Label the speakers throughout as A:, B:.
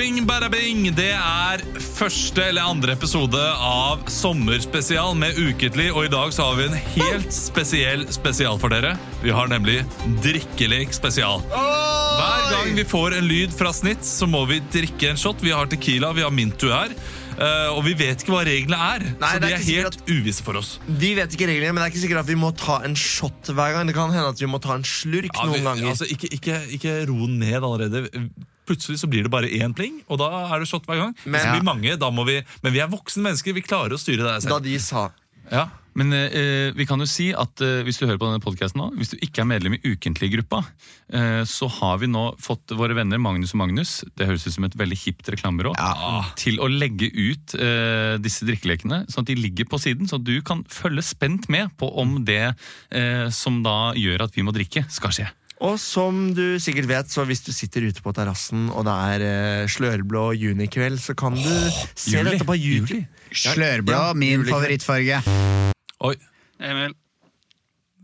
A: Bing! Det er første eller andre episode av Sommerspesial med Uketlig. Og i dag så har vi en helt spesiell spesial for dere. Vi har nemlig drikkelek spesial. Hver gang vi får en lyd fra snitt, så må vi drikke en shot. Vi har Tequila, vi har Mintu her. eh, Og vi vet ikke hva reglene er,
B: Nei,
A: så de
B: det er
A: er
B: ikke sikkert
A: helt uvisse for oss.
B: Vi vet ikke reglene, men det er ikke sikkert at vi må ta en shot hver gang. Det kan hende at vi må ta en slurk
A: Ja, vi,
B: noen ganger.
A: altså, ikke, ikke, ikke ro ned allerede. Plutselig så blir det bare én pling, og da er det shot hver gang.
B: Men-
A: Men, blir mange, da må vi, men vi er voksne mennesker, vi klarer å styre det her
B: da
A: selv.
B: de sa
C: Ja, men eh, vi kan jo si at eh, hvis du hører på denne podcasten nå, hvis du ikke er medlem i ukentlig-gruppa, eh, så har vi nå fått våre venner Magnus og Magnus, det høres ut som et veldig hipt reklamebyrå, til å legge ut eh, disse drikkelekene, sånn at de ligger på siden, så du kan følge spent med på om det eh, som da gjør at vi må drikke, skal skje.
B: Og som du sikkert vet, så hvis du sitter ute på terrassen og det er eh, slørblå junikveld, så kan du se
C: juli,
B: dette på YouTube.
C: juli.
D: Slørblå,
B: Ja,
D: min
B: julekrem.
D: favorittfarge.
A: Oi.
C: Emil.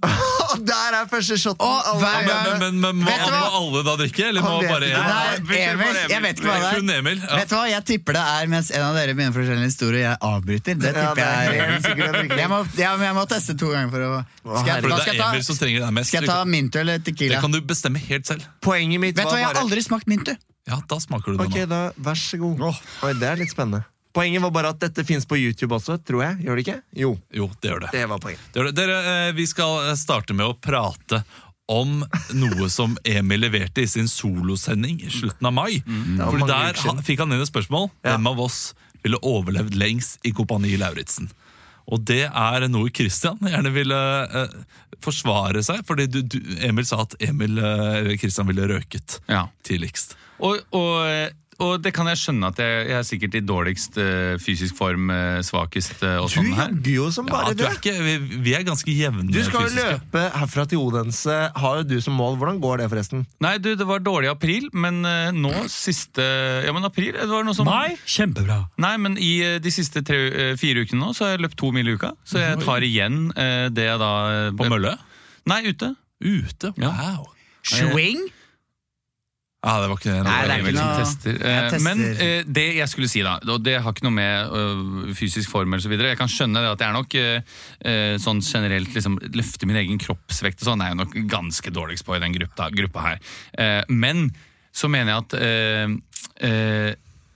B: Å, der er første shoten!
D: Å,
B: Alle-
D: hver
A: Men, men, men, men må,
D: Vet du
A: må
D: hva?
A: alle da drikke, eller må
B: Han vet
A: bare
B: ikke.
A: én?
D: Nei, Emil, jeg vet ikke hva det er.
A: Kun Emil. Ja.
D: Vet du hva, Jeg tipper det er mens en av dere begynner for å fortelle en historie, jeg avbryter. Det
B: Ja,
D: tipper
B: det er
D: jeg
B: helt sikkert en drikkelek.
D: jeg må, ja, men jeg må teste to ganger for å Skal jeg,
A: Fordi det
D: da skal
A: er
D: jeg
A: Emil
D: ta,
A: som trenger det mest.
D: skal jeg ta Mintu eller
A: Det
D: Tequila?
A: kan du bestemme helt selv.
B: Poenget mitt
D: Vet du
B: var
D: hva, Jeg har
B: bare
D: aldri smakt Mintu.
A: Ja, da smaker du det
B: Ok,
A: nå.
B: da, vær så god. Oi, det er litt spennende. Poenget var bare at dette fins på YouTube også, tror jeg. Gjør det ikke? Jo,
A: Jo, det gjør det.
B: det var poenget.
A: det, gjør det. Dere, eh, vi skal eh, starte med å prate om noe som Emil leverte i sin solosending i slutten av mai.
B: Det var
A: Fordi
B: mange uker
A: Der
B: siden.
A: ha- fikk han inn et spørsmål.
B: Ja.
A: Hvem av oss ville overlevd lengst i Kompani Lauritzen? Og det er noe Christian gjerne ville eh, forsvare seg, fordi du, du, Emil sa at Emil, eh, eller Christian ville røket
C: Ja.
A: tidligst.
C: Og, og, og det kan jeg skjønne at jeg, jeg er sikkert i dårligst eh, fysisk form, eh, svakest eh, og
B: Du
C: sånn her.
B: jogger jo som
A: Ja,
B: bare
A: du
B: det.
A: er ikke, vi, vi er ganske jevne
B: Du skal jo
A: fysiske.
B: løpe herfra til Odense, har jo du som mål. Hvordan går det, forresten?
C: Nei, du, det var dårlig i april, men eh, nå siste Ja, men april det var noe som
E: Mai, kjempebra.
C: Nei, men i eh, de siste tre, eh, fire ukene nå så har jeg løpt to mil i uka. Så jeg tar igjen eh, det jeg da eh,
A: På mølle?
C: Nei, ute.
A: Ute? Wow.
D: Swing?
A: Ja, det var ikke
D: Nei, det er
C: Jeg
D: ikke
C: vel
D: noe-
C: som tester.
D: Jeg
C: Eh,
D: tester.
C: Men eh, det jeg skulle si, da, og det har ikke noe med øh, fysisk form eller så videre Jeg kan skjønne det at jeg er nok eh, eh, sånn generelt liksom, løfte min egen kroppsvekt og sånn, er jeg nok ganske dårligst på i den gruppa, gruppa her. Eh, men så mener jeg at eh, eh,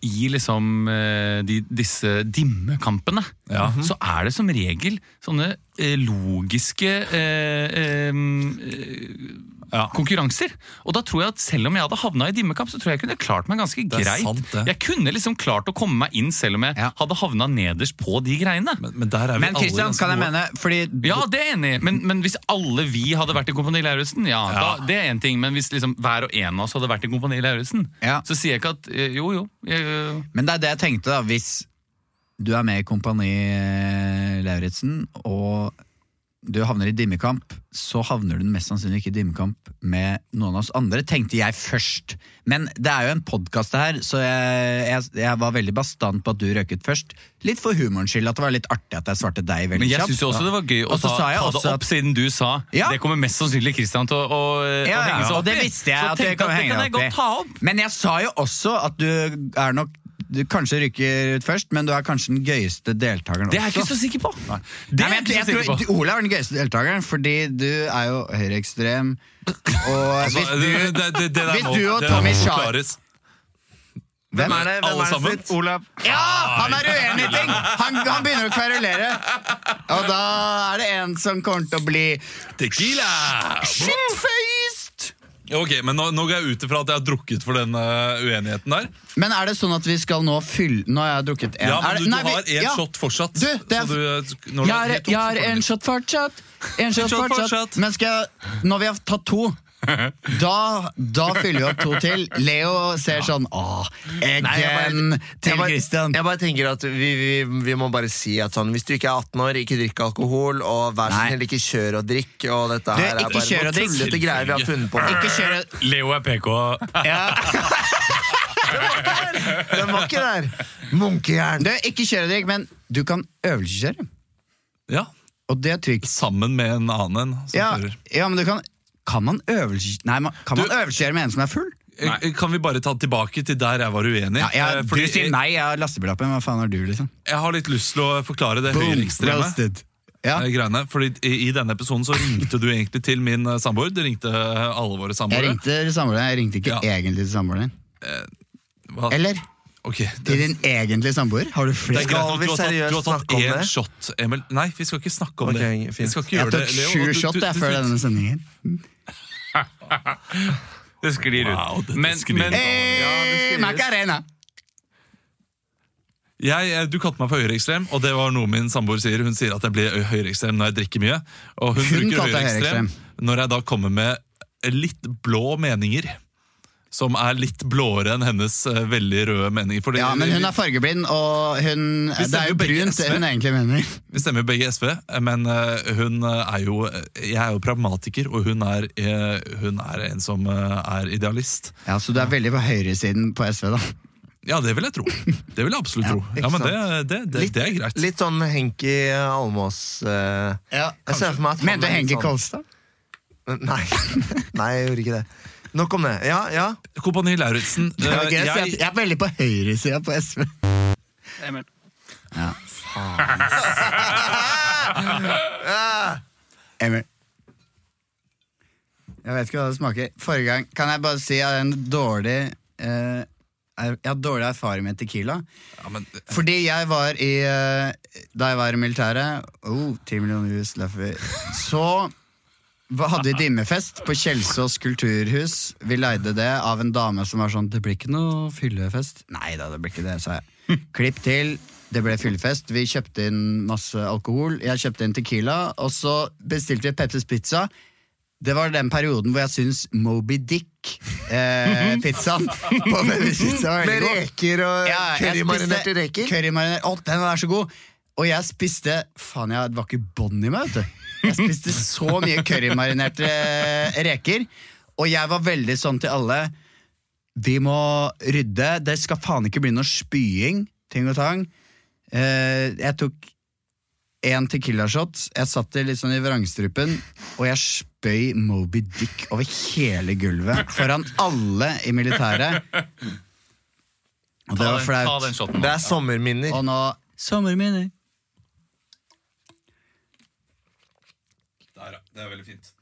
C: i liksom eh, de, disse dimmekampene,
A: Ja.
C: så er det som regel sånne eh, logiske eh, eh,
A: Ja.
C: konkurranser. Og da tror jeg at selv om jeg hadde havna i dimmekamp, så tror jeg jeg kunne klart meg ganske
A: er
C: greit.
A: sant, det.
C: Jeg kunne liksom klart å komme meg inn selv om jeg
D: Ja.
C: hadde havna nederst på de greiene.
A: Men, men der er vi
D: Men
A: alle
D: Christian,
A: ganske
D: kan jeg
A: gode.
D: mene Fordi
C: ja, det er jeg enig i, men, men hvis alle vi hadde vært i Kompani Lauritzen, ja,
A: Ja.
C: Da, det er én ting. Men hvis liksom hver og en av oss hadde vært i Kompani Lauritzen,
D: Ja.
C: så sier jeg ikke at eh, Jo, jo. Jeg, eh,
D: Men det er det jeg tenkte, da. Hvis du er med i Kompani eh, Lauritzen, og du havner i dimmekamp, så havner du mest sannsynlig ikke i dimmekamp med noen av oss andre, tenkte jeg først. Men det er jo en podkast her, så jeg, jeg, jeg var veldig bastant på at du røket først. Litt for humorens skyld, at det var litt artig at jeg svarte deg veldig
C: men jeg
D: kjapt.
C: syns jo også det var gøy å
D: Og så
C: ta,
D: sa jeg
C: ta det
D: også
C: opp, siden du sa
D: Ja.
C: det kommer mest sannsynlig Christian til å, å, eh,
D: ja,
C: å henge
D: ja,
C: seg opp
D: og det
C: i.
D: visste jeg
C: Så
D: at jeg
C: tenkte
D: kan
C: at det
D: henge
C: kan jeg
D: meg
C: godt ta opp.
D: opp i. Men jeg sa jo også at du er nok du kanskje rykker ut først, men du er kanskje den gøyeste deltakeren
C: Det er jeg
D: også.
C: ikke så sikker på. Det
D: Nei,
C: er
D: men
C: jeg
D: jeg,
C: ikke
D: jeg,
C: så sikker på.
D: tror du- Olav er den gøyeste deltakeren, fordi du er jo høyreekstrem. Og hvis
A: Altså,
D: du
A: det- det- det- det der
D: hvis
A: må-
D: du og
A: det der
D: Tommy
A: må
D: Schei-
A: forklares.
D: Hvem
B: er det?
A: Alle
B: Hvem er det
A: sammen?
B: sitt?
C: Olav.
D: Ja! Han er uenig i ting! Han, han begynner å kverulere. Og da er det en som kommer til å bli
A: Tequila!
D: shitfaced!
A: Ok, men nå, nå går jeg ut ifra at jeg har drukket for den eh, uenigheten der.
D: Men er det sånn at vi skal nå fylle Nå har jeg drukket én.
A: Ja, men
D: Er det-
A: du,
D: nei,
A: du
D: vi-
A: har én
D: ja.
A: shot fortsatt.
D: Du, det
A: så
D: er-
A: du, eh, når du
D: Jeg
A: har
D: har,
A: helt opp,
D: jeg
A: så
D: har
A: får du
D: en
A: litt.
D: shot fortsatt. En shot
A: shot
D: fortsatt.
A: fortsatt.
D: Men skal jeg, når vi har tatt to da, da fyller vi opp to til. Leo ser sånn Åh,
B: Nei, jeg
D: eggen til
B: jeg bare,
D: Christian.
B: Jeg bare tenker at vi, vi, vi må bare si at sånn, hvis du ikke er 18 år, ikke drikk alkohol, og vær så
D: Nei.
B: snill, ikke kjør og drikk, og dette
D: Du,
B: her
D: ikke
B: er bare
D: kjør og
B: noen
D: drikk.
B: tullete greier vi har funnet på.
D: Ikke kjøre
E: Leo er PK.
D: ja.
B: Den var ikke der! Munkejern.
D: Du, ikke kjøre drikk, men du kan øvelseskjøre.
A: Ja,
D: Og det er trygt.
A: Sammen med en annen en som
D: Ja,
A: fører.
D: ja, men du kan Kan man øvelseskjøre Nei, man, kan man
A: Du-
D: øvelseskjøre med en som er full?
A: eh, Kan vi bare ta det tilbake til der jeg var uenig?
D: Ja,
A: Eh,
D: jeg,
A: Fordi
D: du sier
A: jeg,
D: nei, jeg har lastebillappen. Hva faen har du, liksom?
A: jeg har litt lyst til å forklare det
D: Boom,
A: høyreekstreme.
D: roasted. Ja.
A: eh, greiene. Fordi i, I denne episoden så ringte du egentlig til min eh, samboer. Du ringte eh, alle våre
D: Jeg
A: samboere.
D: ringte til samboeren. Jeg ringte ikke
A: Ja.
D: egentlig til samboeren din.
A: Hva-
D: Eller
A: Ok, det,
D: til din egentlige samboer. Har du
A: det er
D: flere?
B: Skal
A: greit nok.
B: vi
A: Du har tatt,
B: seriøst
A: du har tatt
B: snakke om
A: én
B: det?
A: shot, Emil. Nei, vi skal ikke snakke om
B: Ok,
A: det. Vi
B: fint.
A: skal ikke
D: Jeg
A: gjøre
D: tok
A: det, Leo. Og
D: sju
A: du-
D: shot
A: du-
D: jeg,
A: du-
D: før denne sendingen.
C: Det sklir ut.
A: Wow, dette
C: men,
A: sklir ut.
C: men,
D: Hey, Eh, Macarena!
A: Jeg, eh, du kalte meg for høyreekstrem, og det var noe min samboer sier. Hun sier at jeg blir høyreekstrem når jeg drikker mye. Og hun,
D: Hun
A: bruker
D: kalte deg
A: høyreekstrem når jeg da kommer med litt blå meninger. Som er litt blåere enn hennes eh, veldig røde meninger. Fordi
D: Ja, men
A: vi-
D: hun er fargeblind, og hun,
A: Vi
D: det er
A: stemmer
D: jo
A: begge
D: brunt
A: SV.
D: det hun egentlig mener.
A: Vi stemmer jo begge SV, men eh, hun er jo eh, Jeg er jo pragmatiker, og hun er, eh, hun er en som eh, er idealist.
D: Ja, Så du er veldig på høyresiden på SV, da.
A: Ja, det vil jeg tro. Det vil jeg absolutt tro.
B: ikke
A: Ja, men det, det, det,
B: Litt-
A: det er greit.
B: Litt sånn Henki Almås eh,
D: Ja,
B: Jeg ser for meg at han
D: Mente
B: er litt
D: Henki
B: sånn-
D: Kolstad?
B: Nei. Nei, jeg gjorde ikke det. Nok om det. Ja, ja.
A: Kompani Lauritzen.
D: Det
A: eh,
D: var gøy å si at
A: jeg-
D: Jeg er veldig på høyresida på SV. Ja. Emil. Jeg vet ikke hva det smaker. Forrige gang kan jeg bare si at jeg har en dårlig eh, Jeg har dårlig erfaring med Tequila.
A: Ja, men,
D: Fordi jeg var i eh, Da jeg var i militæret oh, 10 millioner hus, Luffy. Så hva- hadde vi dimmefest på Kjelsås kulturhus. Vi leide det av en dame som var sånn 'Det blir ikke noe fyllefest'. Nei da, det blir ikke det, sa jeg. Klipp til. Det ble fyllefest. Vi kjøpte inn masse alkohol. Jeg kjøpte inn Tequila, og så bestilte vi Pepsis Pizza. Det var den perioden hvor jeg syns Moby Dick-pizzaen på Pepsis Pizza var veldig
B: Med
D: god.
B: reker og
D: Ja, jeg
B: currymarinerte
D: spiste
B: reker.
D: Currymarinert, å, den var så god! Og jeg spiste Faen, jeg, det var ikke bånd i meg, vet du. Jeg spiste så mye currymarinerte reker, og jeg var veldig sånn til alle Vi må rydde. Det skal faen ikke bli noe spying, ting og tang. Eh, jeg tok én tequila-shot. Jeg satt det litt sånn i vrangstrupen, og jeg spøy Moby Dick over hele gulvet foran alle i militæret. Og det
C: ta,
D: var
C: den, ta
D: flaut.
C: den shoten.
B: Det er sommerminner.
D: Og nå Sommerminner.
A: Der, ja. Det er veldig fint.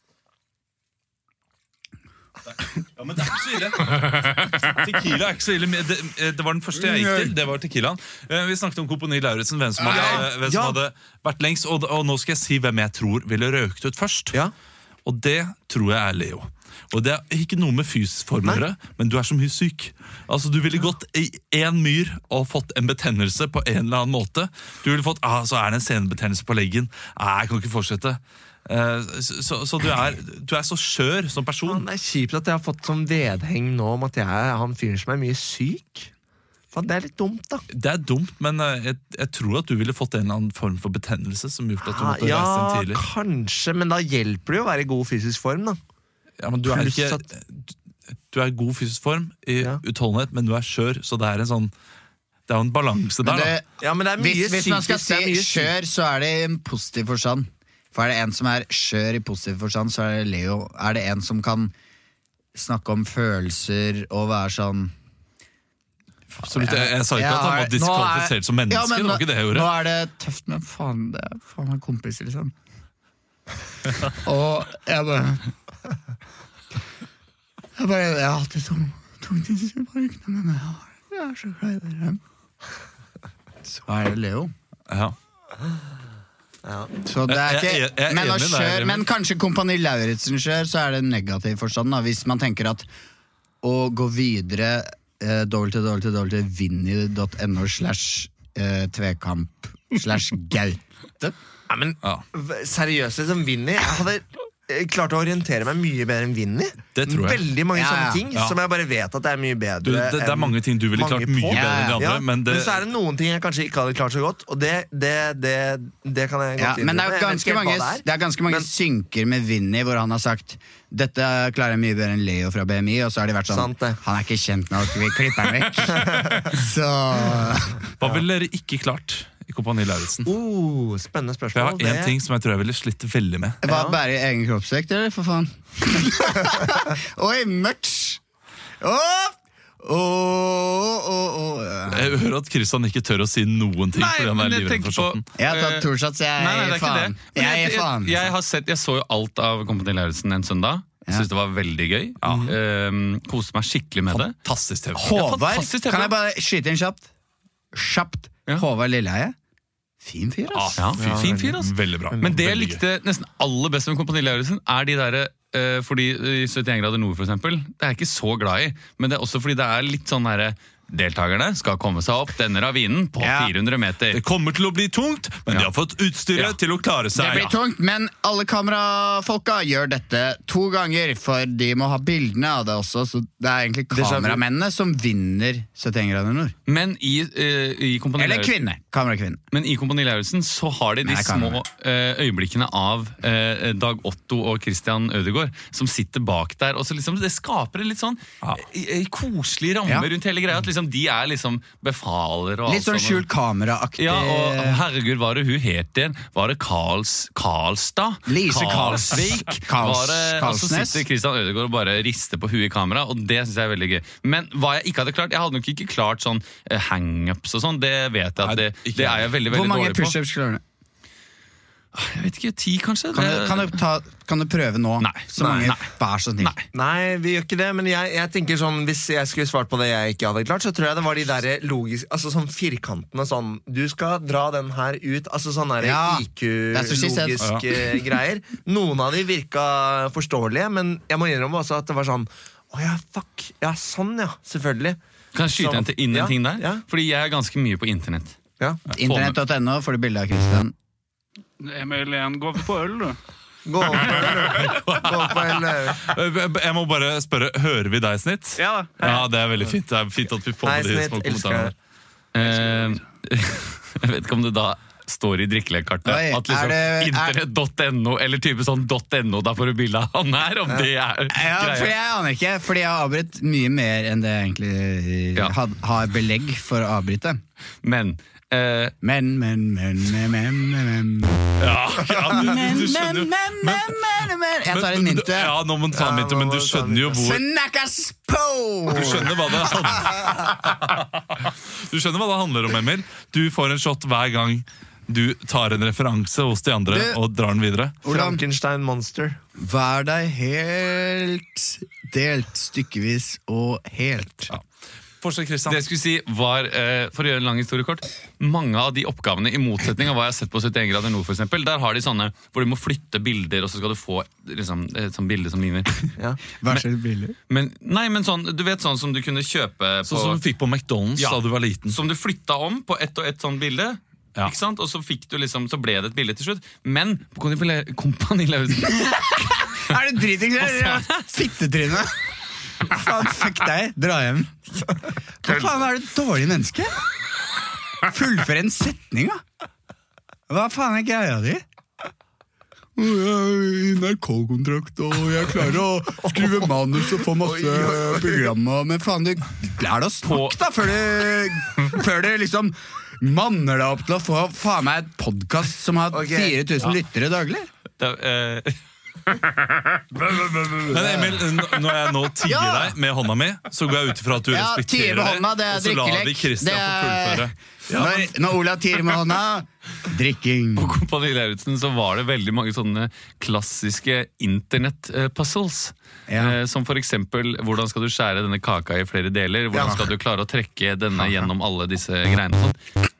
A: Der. Ja, men det er ikke så ille. Tequila er ikke så ille. men Det, eh, det var den første jeg gikk til. det var tequilaen. Eh, Vi snakket om Kompani Lauritzen, hvem som hadde, eh, hvem som
B: Ja.
A: hadde vært lengst. Og, og nå skal jeg si hvem jeg tror ville røkt ut først.
B: Ja.
A: Og det tror jeg er Leo. Og det er ikke noe med fysform å gjøre, men du er så mye syk. Altså, Du ville gått i én myr og fått en betennelse på en eller annen måte. Du ville fått ah, 'så er det en senebetennelse på leggen'. Nei, jeg kan ikke fortsette. Eh, så så, så du, er, du er så skjør som person.
B: Faen, Det er kjipt at jeg har fått som vedheng nå om at jeg er han fyren som er mye syk. Faen, det er litt dumt, da.
A: Det er dumt, men eh, jeg, jeg tror at du ville fått en eller annen form for betennelse som gjort at du måtte
B: Ah, ja,
A: reise inn tidlig.
B: kanskje, men da hjelper det jo å være i god fysisk form, da.
A: Ja, men du er
B: Pluss
A: ikke... Du er i god fysisk form i
B: Ja.
A: utholdenhet, men du er skjør, så det er en sånn Det er jo en balanse der,
D: Men
A: da.
D: det,
B: Ja, men det er mye
D: hvis, hvis man skal
B: psykisk, det er
D: si
B: mye psykisk.
D: skjør, så er det i en positiv forstand. For er det en som er skjør i positiv forstand, så er det Leo. Er det en som kan snakke om følelser og være sånn
A: Absolutt, jeg, jeg sa ikke
D: Jeg
A: at han
D: har-
A: var
D: nå er-
A: diskvalifisert som menneske.
D: Ja, men
A: det var
D: nå-
A: ikke det jeg gjorde.
D: Nå er det tøft, men faen, det er faen meg kompiser, liksom. og jeg bare Jeg bare, jeg har alltid tung tungtidsbruk, men jeg, har, jeg er så glad i dere. Hva er det, Leo?
A: Ja.
D: Så det er
A: Jeg- jeg- jeg
D: ikke,
A: er
D: men, å
A: enig der,
D: kjøre,
A: Emil.
D: men kanskje Kompani Lauritzen kjør, så er det en negativ forstand. Da, hvis man tenker at å gå videre eh, dårlig til dårlig til dårlig til vinny.no slash eh, tvekamp slash gaute.
B: Ja, men
A: Ja.
B: v- seriøst, liksom, Vinny Jeg hadde eh, klart å orientere meg mye bedre enn Vinny.
A: Det tror jeg.
B: Veldig mange
D: Ja, ja.
B: sånne ting
A: Ja.
B: som jeg bare vet at det er mye bedre
A: Du, det, det er
B: enn
A: mange ting du ville
B: mange
A: klart mye
B: på.
A: bedre enn de andre,
B: Ja,
A: men det,
B: så er det noen ting jeg kanskje ikke hadde klart så godt, og det, det, det, det kan jeg godt
D: Ja, men det er,
B: innrømme. Jeg vet
D: ganske
B: ikke helt
D: mange,
B: hva
D: det er ganske mange
B: Men-
D: synker med Vinny hvor han har sagt dette klarer jeg mye bedre enn Leo fra BMI, og så har de vært sånn
B: Sant det.
D: Han er ikke kjent nok, vi klipper han vekk. så
A: hva ville dere ikke klart i Kompani Lauritzen?
B: Oh, spennende
A: For jeg
B: spørsmål.
A: har én ting som jeg tror jeg ville slitt veldig med.
D: Hva bærer egen kroppsvekt, eller? For faen. Oi, merch! Åh! Åh, åh, åh.
A: Jeg hører at Kristian ikke tør å si noen ting. fordi han er livredd for shotten.
D: Jeg har tatt
C: eh,
D: to shots, jeg.
C: Nei, nei, det er ikke det.
D: faen.
C: Men
D: Jeg,
C: jeg,
D: faen.
C: jeg, jeg, har sett, jeg så jo alt av Kompani Lauritzen en søndag. Syntes det var veldig gøy. Ehm, koste meg skikkelig med det.
A: Fantastisk TV.
C: Ja,
D: Håvard,
C: fantastisk
D: kan
C: TV.
D: jeg bare skyte inn kjapt? Kjapt.
C: Ja. Ah,
D: Håvard Lilleheie. Fin fyr, ass.
A: Ja,
C: Fy, fin fyr, altså.
A: Veldig
D: Mm.
A: bra.
C: Men det jeg
A: Veldig gøy.
C: likte nesten aller best med Kompani Lauritzen, er de derre eh, fordi i 71 grader nord, for eksempel, det er jeg ikke så glad i. Men det er også fordi det er litt sånn derre Deltakerne skal komme seg opp denne ravinen på
D: Ja.
C: 400 meter.
A: Det kommer til å bli tungt, men
C: Ja.
A: de har fått utstyret
C: Ja.
A: til å klare
D: Det
A: seg.
C: ah.
D: blir tungt, men alle kamerafolka gjør dette to ganger, for de må ha bildene av det også, så det er egentlig
B: Déjà vu.
D: kameramennene som vinner 71 grader nord.
C: Men i, eh, i Kompani
D: Eller
C: Lauritzen-
D: kvinne. Kamerakvinne.
C: Men i Kompani Lauritzen så har de de
D: Nei, jeg kan
C: små eh, øyeblikkene av eh, Dag Otto og Christian Ødegaard som sitter bak der. og så liksom Det skaper en litt sånn
A: Ja.
C: eh, eh, koselig ramme
D: Ja.
C: rundt hele greia. At liksom de er liksom befaler og
D: Litt sånn skjult kameraaktig.
C: Ja, og herregud, hva er det hun het igjen? Var det Karls, Karlstad?
D: Lise
C: Karlsvik?
D: Karls-
C: Var det, og så
D: Karlsnes?
C: sitter Christian Ødegaard og bare rister på huet i kamera, og det syns jeg er veldig gøy. Men hva jeg ikke hadde klart, jeg hadde nok ikke klart sånn eh, hangups og sånn, det vet jeg
A: Nei,
C: at det,
A: ikke
C: det er jeg veldig,
D: Hvor
C: veldig
D: mange
C: dårlig på.
D: pushups klarer du?
C: Jeg vet ikke, ti kanskje?
D: Kan,
C: Det-
D: du- kan, du ta- kan du prøve nå?
C: Eh, Nei.
D: Så
C: Nei.
D: mange,
C: Nei.
D: vær så snill.
C: Nei.
B: Nei, vi gjør ikke det, men jeg, jeg tenker sånn hvis jeg skulle svart på det jeg ikke hadde klart, så tror jeg det var de der logiske Altså sånn firkantene sånn Du skal dra den her ut. Altså sånne der
D: Ja, det er så skissert.
B: IQ-logiske greier. Noen av de virka forståelige, men jeg må innrømme også at det var sånn Å ja, fuck. Ja, sånn, ja. Selvfølgelig.
C: Kan jeg skyte
B: Sånn.
C: en til- inn
B: Ja,
C: en ting der?
B: ja.
C: Fordi jeg er ganske mye på internett.
B: Ja.
D: Internett.no får du bilde av Christian.
F: Emil igjen, gå over på øl, du.
B: Gå opp på en- gå opp på en eh,
A: Eh, Jeg må bare spørre, hører vi deg, Snitt?
F: Ja da.
A: Ja, det er veldig fint. Det er fint at vi får
B: Nei,
A: med de små
B: snitt. Elsker
A: kommentarene.
B: deg.
C: Eh, jeg vet ikke om det da står i drikkelekartet
D: Oi,
C: at liksom
D: er det- er-
C: internett.no eller type sånn .no, da får du bilde av han her, om det er
D: Ja, for
C: greia.
D: jeg aner ikke, fordi jeg har avbrutt mye mer enn det jeg egentlig
C: Ja.
D: had, har belegg for å avbryte.
C: Men eh,
D: Men, men, men, men, men, men, men.
A: Ja, ja, du,
D: Men,
A: du
D: men,
A: skjønner jo
D: men, men, men, men. Jeg tar
A: Men-
D: en
A: men-
D: mynte.
A: Ja, nå må du ta en
B: Ja,
A: minte,
B: nå
A: men
B: må
A: du
B: du ta en
A: skjønnes jo
B: minte.
A: hvor
D: Snakkes på!
A: Du skjønner hva det handler Du skjønner hva det handler om, Emil. Du får en shot hver gang du tar en referanse hos de andre
D: Du-
A: og drar den videre.
D: Olav,
B: Frankenstein Monster.
D: vær deg helt delt, stykkevis og helt.
A: Fortsett,
C: Det
A: Kristian.
C: jeg skulle si var, eh, for å gjøre en lang historie kort Mange av de oppgavene, i motsetning av hva jeg har sett på 71 grader nord, for eksempel, der har de sånne hvor du må flytte bilder, og så skal du få liksom, et sånt bilde som ligner.
B: Ja.
D: Vær så billig.
C: Men, nei, men sånn, du vet sånn som du kunne kjøpe på,
A: Sånn som du fikk på McDonald's
C: Ja.
A: da du var liten.
C: Som du flytta om på ett og ett sånn bilde.
A: Ja.
C: Ikke sant? Og så, fikk du liksom, så ble det et bilde til slutt. Men på Kompani- Kompani Lauritzen
D: Er du dritings? Fittetryne! Faen, fuck deg. Dra hjem. Hva faen er du et dårlig menneske? Fullfør en setning, da! Hva faen er greia di? Jeg har NRK-kontrakt, og jeg klarer å skrive manus og få masse programmer, men faen, du lær deg å snakke, da, før du, før du liksom manner deg opp til å få faen meg et podkast som har
B: Ok.
D: 4000 lyttere daglig.
C: det, er, eh,
A: Men Emil, n- når jeg nå tier
D: Ja.
A: deg med hånda mi, så går jeg ut ifra at du
D: Ja, tier
A: respekterer
D: med hånda, det
A: og
D: er
A: så lar vi
D: drikkelek.
A: Kristian få fullføre.
D: når, når Ola tier med hånda Drikking.
C: På Kompani Lauritzen så var det veldig mange sånne klassiske internett-puzzles.
D: Ja.
C: Eh, som for eksempel hvordan skal du skjære denne kaka i flere deler? Hvordan skal du klare å trekke denne gjennom alle disse greiene? og sånn.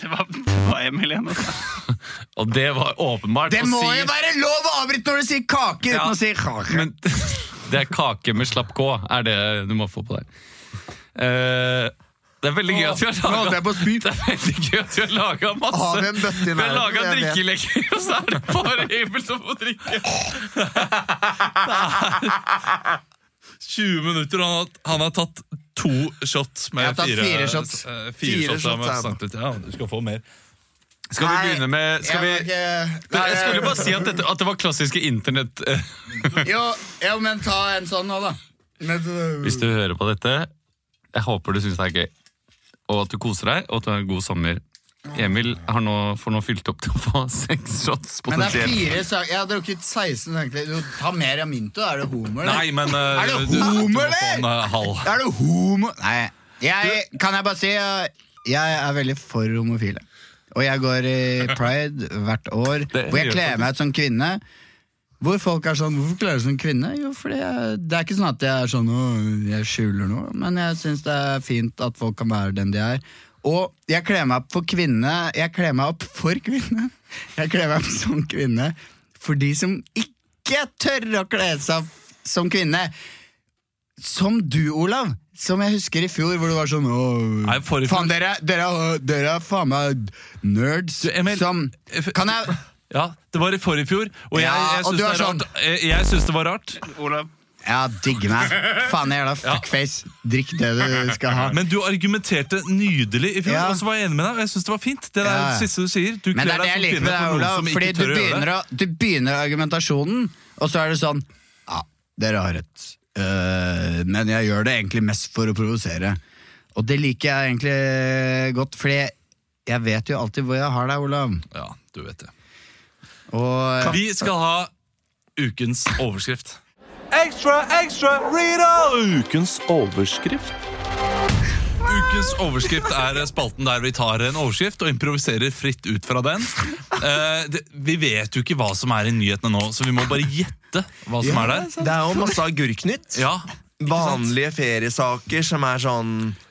F: Det var, det var Emil igjen. altså.
C: Og det var åpenbart
D: Det
C: å
D: må
C: si
D: jo være lov å avbryte når du sier kake
C: Ja.
D: uten å si kake.
C: Men det er kake med slapp K, er det du må få på deg. Eh, det er veldig gøy at vi har
D: Nå holdt
C: laga
D: jeg på å spy.
C: Det er veldig gøy at vi har laga masse
B: Har vi en bøtte i
C: Vi har
B: nærheten?
C: laga
B: Jeg vet.
C: drikkeleker, og så er det bare Emil som får drikke!
A: 20 minutter, og han har, han har tatt to shots med
D: Jeg har tatt fire shots.
A: eh, Fire,
B: Fire
A: shots,
B: shots,
A: med
B: ja.
A: sankthet. Ja, du skal få mer.
C: Skal vi begynne med skal vi,
D: Jeg må ikke-
C: Jeg skulle bare si at, dette, at det var klassiske internett... eh,
D: Jo, jo, men ta en sånn nå, da.
C: Hvis du hører på dette, jeg håper du syns det er gøy. Og at du koser deg, og at du har en god sommer. Emil har nå, får nå fylt opp til å få seks shots
D: Men det er
C: potensielt.
D: fire saker Jeg har drukket 16 egentlig. Du, Ta mer Aminto, er det homo? eller?
A: Nei, men eh,
D: Er det
A: du- du må
D: homo,
A: få
D: eller?
A: en, eh, halv.
D: Er det homo... Nei, jeg, kan jeg bare si eh, Jeg er veldig for homofile Og jeg går i Pride hvert år
C: Det
D: Hvor jeg
C: gjør
D: kler meg ut som kvinne hvor folk er sånn, hvorfor kler du som kvinne? Jo, fordi jeg, det er ikke sånn at jeg er sånn, «Åh, jeg skjuler noe, men jeg synes det er fint at folk kan være den de er. Og jeg kler meg opp for kvinne, jeg kler meg opp for kvinne, jeg kler meg opp som kvinne, for de som ikke tør å kle seg opp som kvinne. Som du, Olav, som jeg husker i fjor, hvor du var sånn, åh,
A: Nei, forrige fjor-
D: faen dere, dere, dere er faen meg nerds.
A: Du, Emil, eh,
D: som,
A: f-
D: kan jeg...
A: Ja, det var i forrige fjor, og jeg,
D: Ja,
A: jeg,
D: og
A: syns,
D: du
A: det
D: er
A: er
D: sånn-
A: rart. Jeg, jeg syns det var rart.
F: Olav.
D: Ja, digg meg. Faen jævla fuckface. Drikk det du skal ha. Men,
A: Men du argumenterte nydelig i fjor,
D: Ja.
A: og så var jeg enig med deg. og Jeg synes det var fint. Det der
D: Ja, ja.
A: siste du sier. Du
D: det
A: kler
D: er det
A: deg
D: jeg
A: som
D: liker med
A: kvinne
D: deg,
A: for noen
D: Olav.
A: som
D: Fordi
A: ikke
D: du
A: tør å gjøre
D: begynner,
A: det.
D: å, du begynner argumentasjonen, og så er det sånn Ja, dere har rett, Eh, men jeg gjør det egentlig mest for å provosere. Og det liker jeg egentlig godt, fordi jeg vet jo alltid hvor jeg har deg, Olav.
A: Ja, du vet det.
D: Og
A: Vi skal ha ukens overskrift. Ukens overskrift er spalten der vi tar en overskrift og improviserer fritt ut fra den. Eh, det, vi vet jo ikke hva som er i nyhetene nå, så vi må bare gjette hva som er der.
B: Det er jo masse agurknytt.
A: Ja,
B: Vanlige feriesaker som er sånn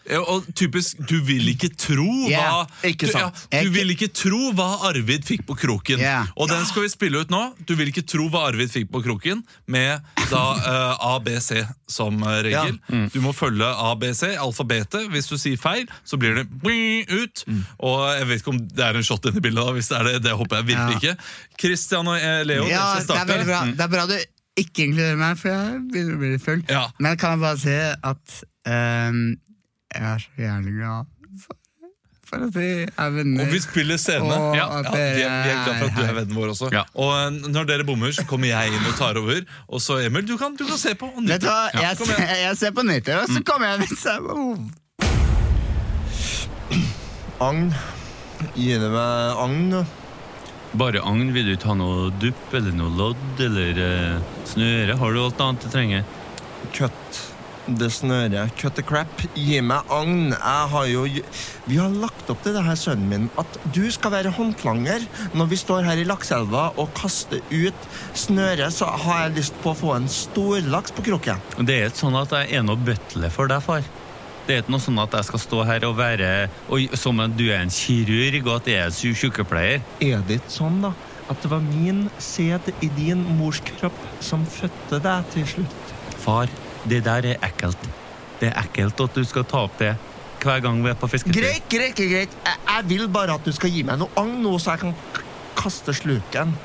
A: Ja, Og typisk, du vil ikke tro hva
D: Ja,
B: ikke
A: du,
B: sant.
A: du
D: Jeg-
A: vil ikke tro hva Arvid fikk på kroken.
D: Ja.
A: Og den skal vi spille ut nå. Du vil ikke tro hva Arvid fikk på kroken, med da eh, ABC som eh, regel.
D: Mm.
A: Du må følge ABC, alfabetet. Hvis du sier feil, så blir det bing ut.
D: Mm.
A: Og jeg vet ikke om det er en shot inni bildet, da, hvis det er det. Det håper jeg virkelig ikke. Christian og eh, Leo,
D: Ja,
A: dere
D: det
A: skal
D: er
A: starte.
D: veldig
A: Mm.
D: bra. Det er bra du ikke inkluderer meg, for jeg begynner å bli litt full.
A: Ja.
D: Men kan jeg bare si at ehm, jeg er så jævlig glad for, for at vi er venner.
A: Og vi spiller scene.
D: Åh,
A: ja, ja,
D: at
A: vi, er, vi
D: dere
A: er glad for at du
D: er
A: er vennen vår også.
C: Ja.
A: Og eh, når dere bommer, så kommer jeg inn og tar over. Og så Emil, du kan, du kan se på. og nyte.
D: Vet du hva, jeg,
A: kom
D: ser,
A: igjen. Mm.
D: jeg ser på nyheter, og så kommer jeg med samme hov.
B: agn. Gi det meg agn.
C: Bare agn. Vil du ikke ha noe dupp eller noe lodd eller eh, snøre? Har du alt annet du trenger?
B: Cut det snøret. Cut the crap. Gi meg agn. Jeg har jo Vi har lagt opp til det her, sønnen min, at du skal være håndlanger når vi står her i lakseelva og kaster ut snøret, så har jeg lyst på å få en storlaks på kroken.
C: Og Det er ikke sånn at jeg er noe butler for deg, far. Det er ikke noe sånn at jeg skal stå her og være Oi, som om du er en kirurg og at jeg er sy- sykepleier.
B: Er det ikke sånn, da? At det var min sæd i din mors kropp som fødte deg til slutt?
C: Far, det der er ekkelt. Det er ekkelt at du skal ta opp det hver gang vi er på fisketur.
B: Greit, greit, greit. greit. Jeg, jeg vil bare at du skal gi meg noe agn nå, så jeg kan k- kaste sluken.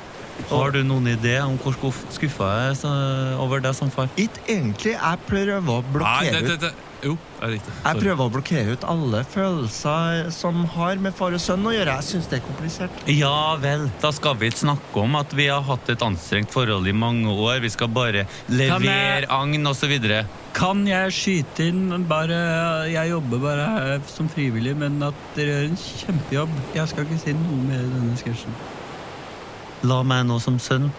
C: Har du noen idé om hvor skuff- skuffa jeg er så- over deg som far?
B: Ikke egentlig. Jeg prøver å
A: Nei,
B: blokkere
A: det,
B: ut
A: det, det. Jo, det er riktig.
B: Jeg
A: Sorry.
B: prøver å blokkere ut alle følelser som har med far og sønn å gjøre. Jeg syns det er komplisert.
C: Ja vel, da skal vi ikke snakke om at vi har hatt et anstrengt forhold i mange år. Vi skal bare
G: jeg-
C: levere agn osv.
G: Kan jeg skyte inn? Bare, jeg jobber bare her som frivillig, men at dere gjør en kjempejobb. Jeg skal ikke si noe mer i denne sketsjen.
C: La meg nå som sønn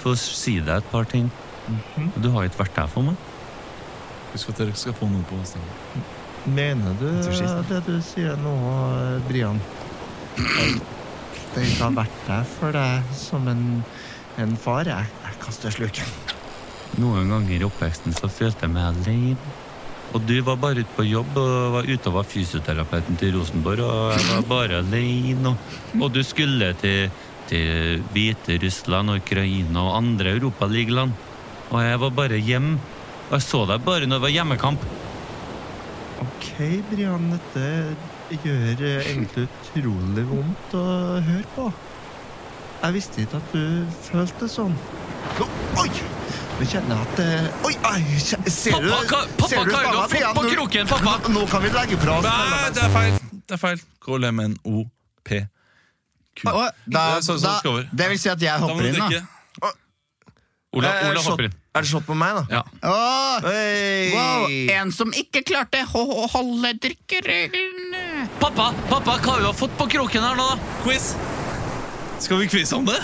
C: få si deg et par ting.
G: Mhm.
C: Du har ikke vært der for meg.
A: Husk at dere skal få noe på stemmen.
B: Mener du det du sier nå, Brian? Det ikke har vært der for deg som en, en far. Jeg, jeg kaster sluken.
C: Noen ganger i oppveksten så følte jeg meg alene. Og du var bare ute på jobb og var ute og var fysioterapeuten til Rosenborg, og jeg var bare alene. Og, og du skulle til, til Hviterussland og Ukraina og andre europaligaland. Og jeg var bare hjemme. Og jeg så deg bare når det var hjemmekamp.
B: OK, Brian. Dette gjør eh, egentlig utrolig vondt å høre på. Jeg visste ikke at du følte sånn. Nå, oi! Nå kjenner jeg at eh, Oi, ai, kje- ser du
C: Pappa, ka- pappa
B: ser du
C: Kari, du har
B: faen meg, Brian,
C: fått på
B: nå-
C: kroken, pappa!
B: Nå, nå kan vi legge fra oss
A: Nei, det er feil! Det er feil. KLMNOP.
D: Og da,
A: Det er sånn som
D: da,
A: skal over.
D: det vil si at jeg
A: Da må
D: hopper
A: du
D: inn, da.
A: drikke.
C: Ola,
B: Eh,
C: Ola
B: shot-
C: hopper inn.
B: Er det shot på meg, da?
C: Ja.
D: Åh,
B: Hey.
D: wow, en som ikke klarte å holde drikkereglene.
C: Pappa, pappa, hva har vi fått på kroken her nå?
A: Quiz! Skal vi quize om det?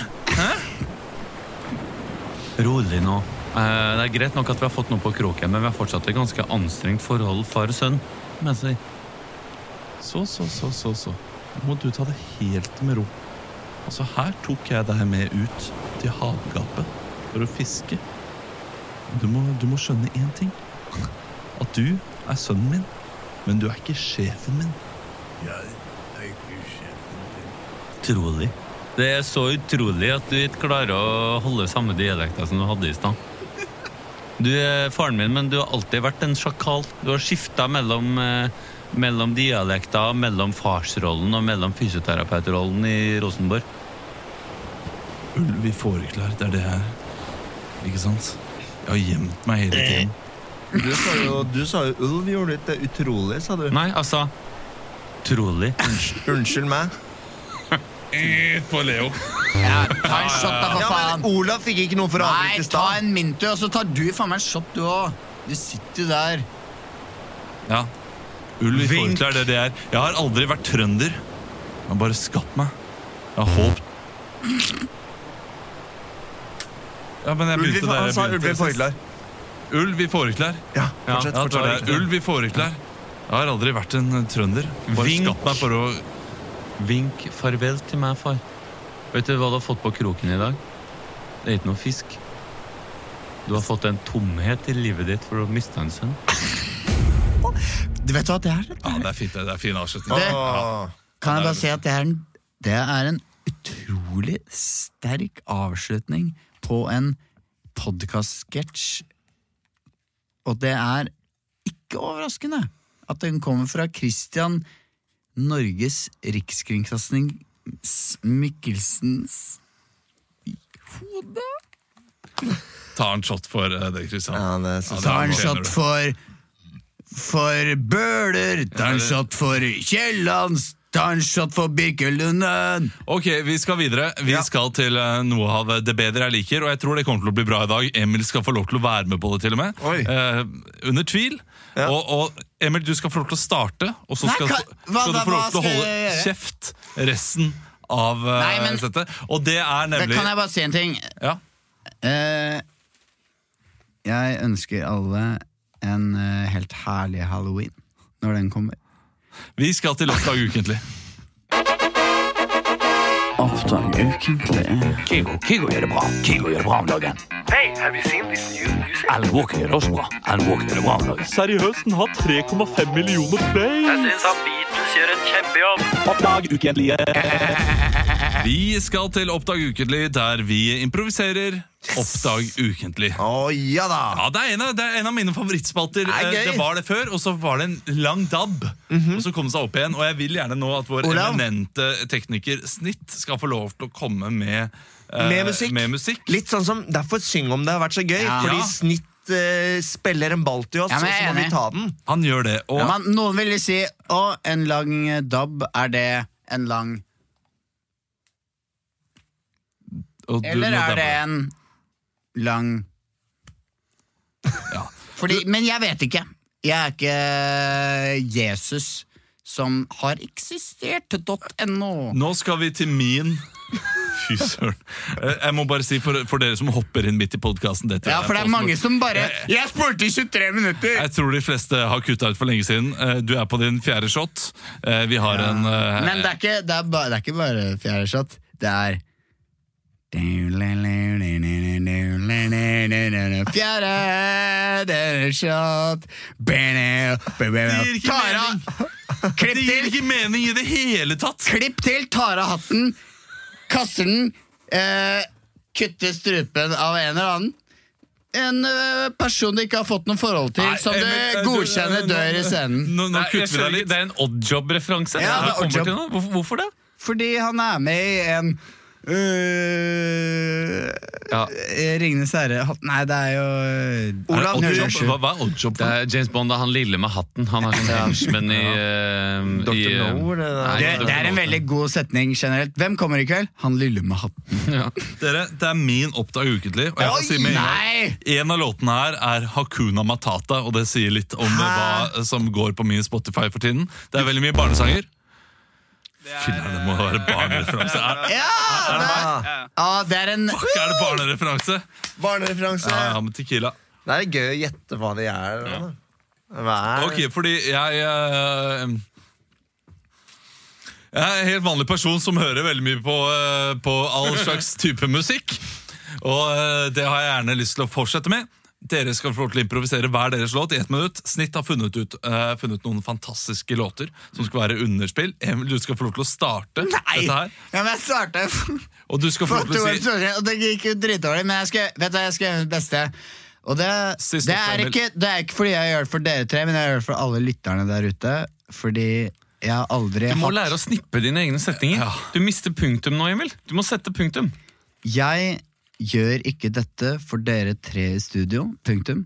C: Rolig nå. Eh, det er greit nok at vi har fått noe på kroken, men vi har fortsatt et ganske anstrengt forhold far og sønn. Men jeg sier,
A: Så, så, så, så, så. Nå må du ta det helt med ro. Altså, her tok jeg deg med ut til havgapet for å fiske. Du må, du må skjønne én ting. At du er sønnen min, men du er ikke sjefen min.
C: Utrolig. Det er så utrolig at du ikke klarer å holde samme dialekta som du hadde i stad. Du er faren min, men du har alltid vært en sjakal. Du har skifta mellom, eh, mellom dialekta, mellom farsrollen og mellom fysioterapeutrollen i Rosenborg.
A: Ulv i fåreklær, det er det her. Ikke sant? Jeg har gjemt meg hele tiden.
B: Du sa jo, du sa jo ulv gjorde litt det utrolig, sa du.
C: Nei, altså Utrolig.
B: Unnskyld meg.
A: Eh, På Leo.
D: Ta en shot, da,
B: Ja,
D: for
B: men
D: faen!
B: Olav fikk ikke noe for å
D: Nei,
B: avbryte i
D: ta
B: stad.
D: en mintu, og så tar du faen meg en shot, du òg. Du sitter jo der.
A: Ja. Ulv i
C: Vink.
A: fåreklær, det er det jeg er. Jeg har aldri vært trønder. Jeg har bare skapt meg. Jeg har håpt Ja, men jeg
B: Ulv i
A: begynte
B: for-
A: der
B: Han
A: jeg
B: sa ulv i
A: begynte.
B: forklær.
A: Ulv i fåreklær.
B: Ja,
C: Ja,
A: Ja,
B: fortsett.
A: det var
B: fortsett.
A: det. Ulv i fåreklær. Jeg har aldri vært en eh, trønder. Bare
C: Vink.
A: skapt meg for å
C: Vink farvel til meg, far. Vet du hva du har fått på kroken i dag? Det er ikke noe fisk. Du har fått en tomhet i livet ditt for å miste en sønn.
D: Du vet hva det er?
A: Ja, det er fint. det. Det er fin avslutning.
D: Det-
B: Åh.
D: Kan jeg bare si at det er en, det er en utrolig sterk avslutning på en podkast-sketsj. Og det er ikke overraskende at den kommer fra Christian Norges Rikskringkasting Mikkelsens hode.
A: Ta en shot for eh, det, Kristian.
B: Ja, det
A: Ja,
B: synes
D: Ta en
A: det er-
D: shot for For Bøhler, ta en shot for Kiellands, ta en shot for Birkelunden.
A: Ok, vi skal videre. Vi skal til eh, noe av det bedre jeg liker, og jeg tror det kommer til å bli bra i dag. Emil skal få lov til å være med på det, til og med.
B: Oi.
A: Eh, under tvil.
B: Ja.
A: Og, og Emil, du skal få lov til å starte, og så
D: Nei,
A: skal,
D: hva- hva-
A: skal du
D: hva-
A: få lov
D: hva
A: til å
D: skal
A: holde
D: jeg gjøre?
A: kjeft resten av eh,
D: Nei, men-
A: settet. Og det er
D: Da
A: nemlig
D: kan jeg bare si en ting.
A: ja.
D: Eh, jeg ønsker alle en eh, helt herlig halloween når den kommer.
A: Vi skal til Oppdag ukentlig. Vi skal til Oppdag ukentlig, der vi improviserer Oppdag ukentlig.
B: Å ja da!
A: Ja, det er en av, det er en av mine favorittspalter.
B: er
A: Eh,
B: gøy.
A: Det var det før, og så var det en lang dab.
D: Mhm.
A: Og så kom det seg opp igjen. Og jeg vil gjerne nå at vår
B: Olav?
A: eminente tekniker Snitt skal få lov til å komme med eh,
B: Med musikk.
A: Med musikk.
B: Litt sånn som Derfor syng om det har vært så gøy,
D: Ja.
B: fordi
A: Ja.
B: snitt eh, spiller en ball til oss,
D: Ja,
B: og
D: men jeg
B: så
D: er
B: må vi
D: enig.
B: ta den.
A: Han gjør det. Og
D: Men noen vil jo si å, en lang eh, dab, er det en lang
A: Og du
D: Eller
A: må
D: er
A: dabbe.
D: det en lang
A: Ja.
D: Fordi, Men jeg vet ikke. Jeg er ikke Jesus som har eksistert.no.
A: Nå skal vi til min Fy søren. Eh, Jeg må bare si for, for dere som hopper inn midt i podkasten
D: Ja, for det er mange som bare
A: Eh,
D: Jeg spurte i 23 minutter!
A: Jeg tror de fleste har kutta ut for lenge siden. Eh, Du er på din fjerde shot. Eh, Vi har en eh,
D: Men det er ikke, det er ba, det er ikke bare fjerde shot. Det er Fjerde shot Tara Klipp
A: Det gir
D: til!
A: ikke mening i det hele tatt!
D: Klipp til! Tar av hatten, kaster den, eh, kutter strupen av en eller annen. En eh, person du ikke har fått noe forhold til,
A: Nei,
D: som du
A: Emil, eh,
D: godkjenner
A: eh,
D: dør i scenen.
A: Nå, nå kutter vi deg litt.
C: Det er en oddjob-referanse.
D: Ja, det er
C: Kommer
D: oddjob.
C: til nå. Hvorfor, hvorfor det?
D: Fordi han er med i en øh,
C: Ja.
D: Ringenes herre Nei, det er jo øh,
A: Er det
D: Olav
A: oddjob?
D: Nørresjø.
A: Hva, hva er oddjob
C: Det
A: for?
C: er James Bond, det er han lille med hatten. Han har sånn henchman i, eh,
B: Dr.
C: i eh,
B: No, det der.
C: nei,
D: Det,
C: Dr.
D: det er en
C: No.
D: veldig god setning generelt. Hvem kommer i kveld? Han lille med hatten.
A: Dere, det er min Oppdag ukentlig. Og jeg kan si med en gang
D: Nei!
A: en av låtene her er Hakuna Matata, og det sier litt om hva som går på min Spotify for tiden. Det er veldig mye barnesanger. Finner det må være barnereferanse. Er,
D: Ja,
B: Ja,
D: ah, det er en
A: fuck, er det barnereferanse?
B: barnereferanse.
A: Ja, ja, med tequila.
B: Det er gøy å gjette hva de er. da. Hva er
A: Ok, fordi jeg eh, Jeg er en helt vanlig person som hører veldig mye på, eh, på all slags type musikk. Og eh, det har jeg gjerne lyst til å fortsette med. Dere skal få lov til å improvisere hver deres låt i ett minutt. Snitt har funnet ut eh, funnet noen fantastiske låter som skal være underspill. Emil, du skal få lov til å starte dette her.
D: Ja, men jeg starta for,
A: Og du skal få
D: for
A: lov
D: to
A: til å
D: år
A: si
D: siden, og det gikk jo dritdårlig, men jeg skal, vet du, hva, jeg skal gjøre mitt beste. Og det,
A: Siste
D: det, er
A: oppvarmel.
D: ikke, det er ikke fordi jeg gjør det for dere tre, men jeg gjør det for alle lytterne der ute. Fordi jeg har aldri
C: Du må
D: hatt
C: lære å snippe dine egne setninger. Du mister punktum nå, Emil. Du må sette punktum.
D: Jeg gjør ikke dette for dere tre i studio. Punktum.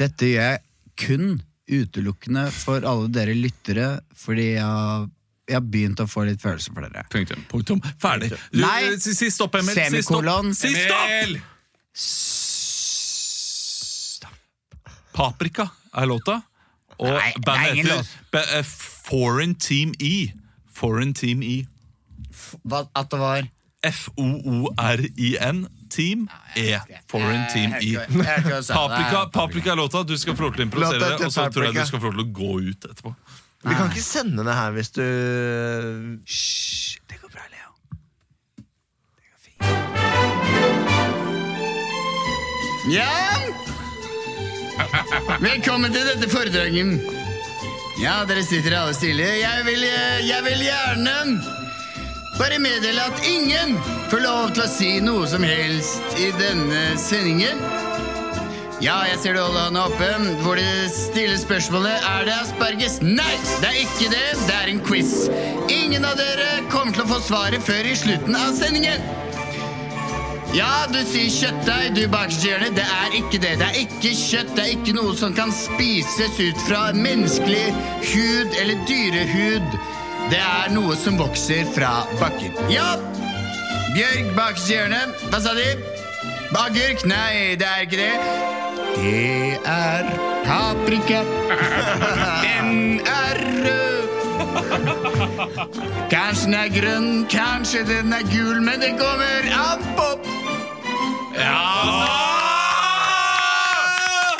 D: Dette gjør jeg kun utelukkende for alle dere lyttere, fordi jeg, har- jeg har begynt å få litt følelser for dere.
C: Punktum.
A: Punktum. Ferdig. Du,
D: Nei.
A: Si, si stopp, Emil. Si stopp!
D: Semikolon.
A: Si stopp! Paprika er låta. Og
D: Nei, det er
A: bandet
D: ingen
A: heter
D: låt.
A: Ba- eh, Foreign Team E. Foreign Team E.
D: Hva- At det var
A: F-O-O-R-I-N. Team E. Foreign Team E.
D: Jeg hørte ikke hva- jeg hørte ikke hva du sa.
A: Paprika, paprika er låta. Du skal få lov til å improvisere
B: Låta
A: det,
B: heter
A: og så tror jeg
B: Paprika.
A: du skal få lov til å gå ut etterpå.
B: Vi kan ikke sende det her hvis du
D: Det går bra, Leo. Det går fint. Ja! Velkommen til dette foredraget. Ja, dere sitter alle stille. Jeg vil, eh, jeg vil gjerne bare meddele at ingen får lov til å si noe som helst i denne sendingen. Ja, jeg ser du holder hånda oppe, hvor det stille spørsmålet er det asparges. Nei, det er ikke det. Det er en quiz. Ingen av dere kommer til å få svaret før i slutten av sendingen. Ja, du sier kjøttdeig, du bakerste hjørne. Det er ikke det. Det er ikke kjøtt. Det er ikke noe som kan spises ut fra menneskelig hud eller dyrehud. Det er noe som vokser fra bakken. Ja! Bjørg bakerste hjørne. Hva sa de? Agurk? Nei, det er ikke det. Det er paprika. Den er rød. Kanskje den er grønn, kanskje den er gul, men det kommer an på.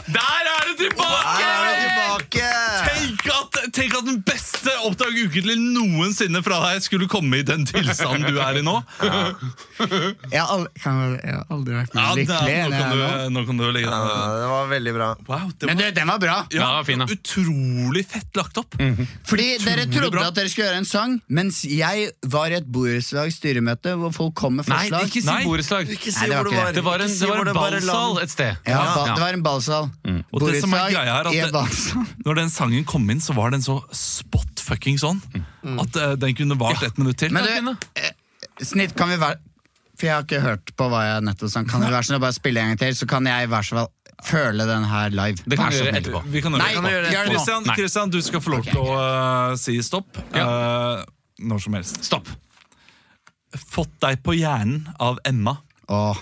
A: Der er det tilbake!
B: Her er det tilbake!
A: Tenk at, tenk at den beste Oppdag ukentlig noensinne fra deg skulle komme i den tilstanden du er i nå.
D: Jeg har aldri, vært
A: Ja, det er, nå, kan du, nå kan du legge
B: Ja,
A: deg
B: det var veldig bra.
A: Wow, det
D: Men
A: var
D: du, den var bra.
A: ja,
C: Ja, fin, da.
A: utrolig fett lagt opp.
D: Fordi dere trodde
A: bra.
D: at dere skulle gjøre en sang, mens jeg var i et borettslags styremøte hvor folk kom med
C: Nei,
D: forslag.
C: ikke si
A: Nei.
C: borettslag.
B: Ikke
D: Nei,
B: si
D: det var
B: hvor det
D: ikke
B: var.
C: Det var en,
B: Ikke si
C: det var
B: hvor
C: en
B: bare
C: ballsal
B: land-
C: et sted.
D: ja, da,
C: Ja.
D: det var en ballsal.
A: Og det som er
D: Borettslag
A: greia er
D: i
A: at
D: en ballsal.
A: Når den sangen kom inn, så var den så spot fucking sånn at eh, den kunne vart ett minutt til.
D: Men du, eh, snitt, kan vi være For jeg har ikke hørt på hva jeg nettopp sa. Kan vi være sånn å bare spille en gang til, så kan jeg i hvert fall føle den her live?
C: Det kan
D: Vær
C: vi
D: så
C: gjøre
D: snill.
C: etterpå.
A: Vi kan
D: Nei,
A: gjøre det.
D: gjør det nå.
A: Christian,
C: Nei.
A: Christian, du skal få lov til å eh, si stopp eh, når som helst.
C: Stopp.
A: Fått deg på hjernen av Emma.
D: Åh.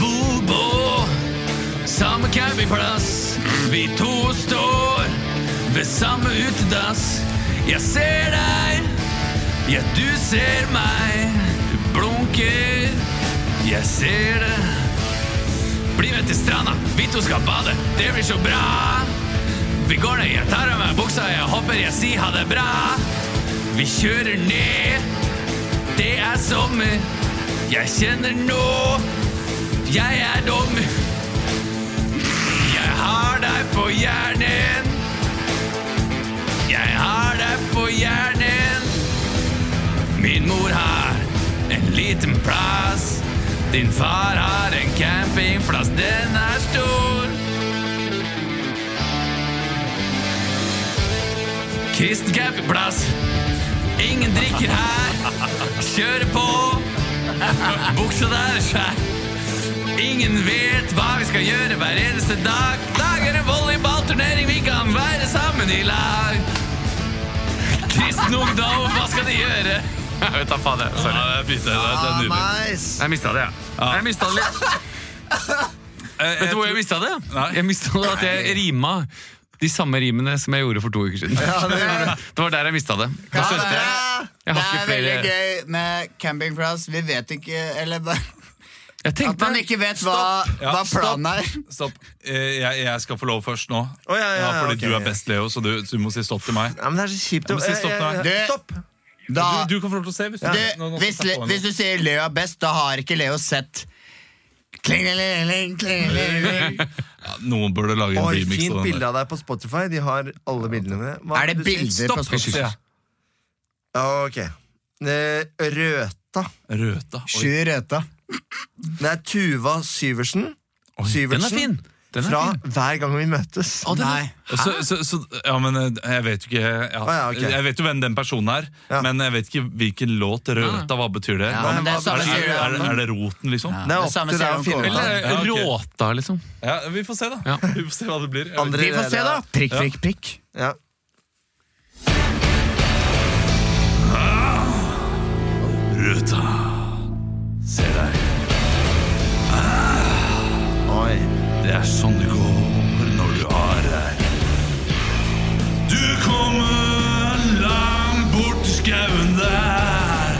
C: Bobo, samme campingplass. Vi to står ved samme utedass. Jeg ser deg, ja, du ser meg. Du blunker, jeg ser det. Bli med til stranda, vi to skal bade. Det blir så bra. Vi går ned, jeg tar av meg buksa, jeg hopper, jeg sier ha det bra. Vi kjører ned, det er sommer. Jeg kjenner nå jeg er dum. Jeg har deg på hjernen. Jeg har deg på hjernen. Min mor har en liten plass. Din far har en campingplass, den er stor. Kristen campingplass. Ingen drikker her. Kjører på. Buksa der er skjær. Ingen vet hva vi skal gjøre hver eneste dag. Dag er det volleyballturnering, vi kan være sammen i lag. Kristen ungdom, hva skal de gjøre? Jeg vet da faen, jeg. Sorry.
A: Ja, det er fint, det er- det er nydelig.
D: Ah,
B: Nice!
C: Jeg mista det, jeg. Jeg mistet det litt.
A: Eh,
C: Vet du hvor
A: jeg
C: jeg mista det?
A: Nei.
C: Jeg mista det at jeg rima de samme rimene som jeg gjorde for to uker siden. Det var der jeg mista det. Da skjønte jeg. Jeg har
D: det
C: ikke
D: er veldig
C: flere
D: gøy med campingplass. Vi vet ikke Eller bare-
C: Jeg
D: at
C: tenkte
D: man ikke vet hva,
A: Ja,
D: hva
A: stopp.
D: planen er.
A: Stopp. Eh, Jeg, jeg skal få lov først nå.
B: Å, ja, ja, ja,
A: fordi
B: ok,
A: du
B: ja.
A: er best, Leo, så du, så du må si stopp til meg.
B: Ja, men det er så kjipt. å-
A: Jeg må si stopp nå.
B: Eh, eh, eh, Stopp!
D: Da,
A: Du, du kan få lov til å se. Hvis du,
D: du,
A: Nå- nå skal
D: hvis,
A: jeg snakke på henne.
D: hvis du sier Leo er best, da har ikke Leo sett Klingelingeling, klingelingeling.
A: ja, noen burde lage en
B: Oi,
A: remix
B: fint
A: av den.
B: bilde
A: der.
B: av deg på Spotify. De har alle bildene dine. Hva
D: Er det
B: du sier?
D: bilder på
A: Stopp, sier jeg.
B: Ja, ok. Eh, Røta.
A: Røta. Oi,
D: Sju røta.
B: Det er Tuva Syversen.
C: Den er fin! Den er
B: Fra
C: fin.
B: Hver gang vi møtes.
C: Å, den er-
A: Så, så, så, ja, men eh, jeg vet jo ikke ja.
B: Å, ja, ok.
A: Jeg vet jo hvem den personen er,
B: Ja.
A: men jeg vet ikke hvilken låt Røta Hva betyr det?
D: Ja, men det er
A: er,
D: samme
A: det,
D: sier
A: er,
D: du.
A: det, er det roten, liksom?
D: Ja,
B: Det er
D: det samme
B: opp til
D: sier
B: deg
D: han
B: å finne ut
D: Kåre.
B: av.
A: Ja,
C: Eller
A: ok.
C: Råta, liksom.
A: Ja, vi får se, da.
C: Ja.
A: Vi får se hva det blir. Jeg vet
B: Andre
D: Vi får se, da.
B: dere-
D: Prikk, prikk, prikk.
B: Ja.
A: Ruta. Se deg.
B: Oi.
A: Det er sånn det går når du har deg. Du kommer langt bort i skauen der.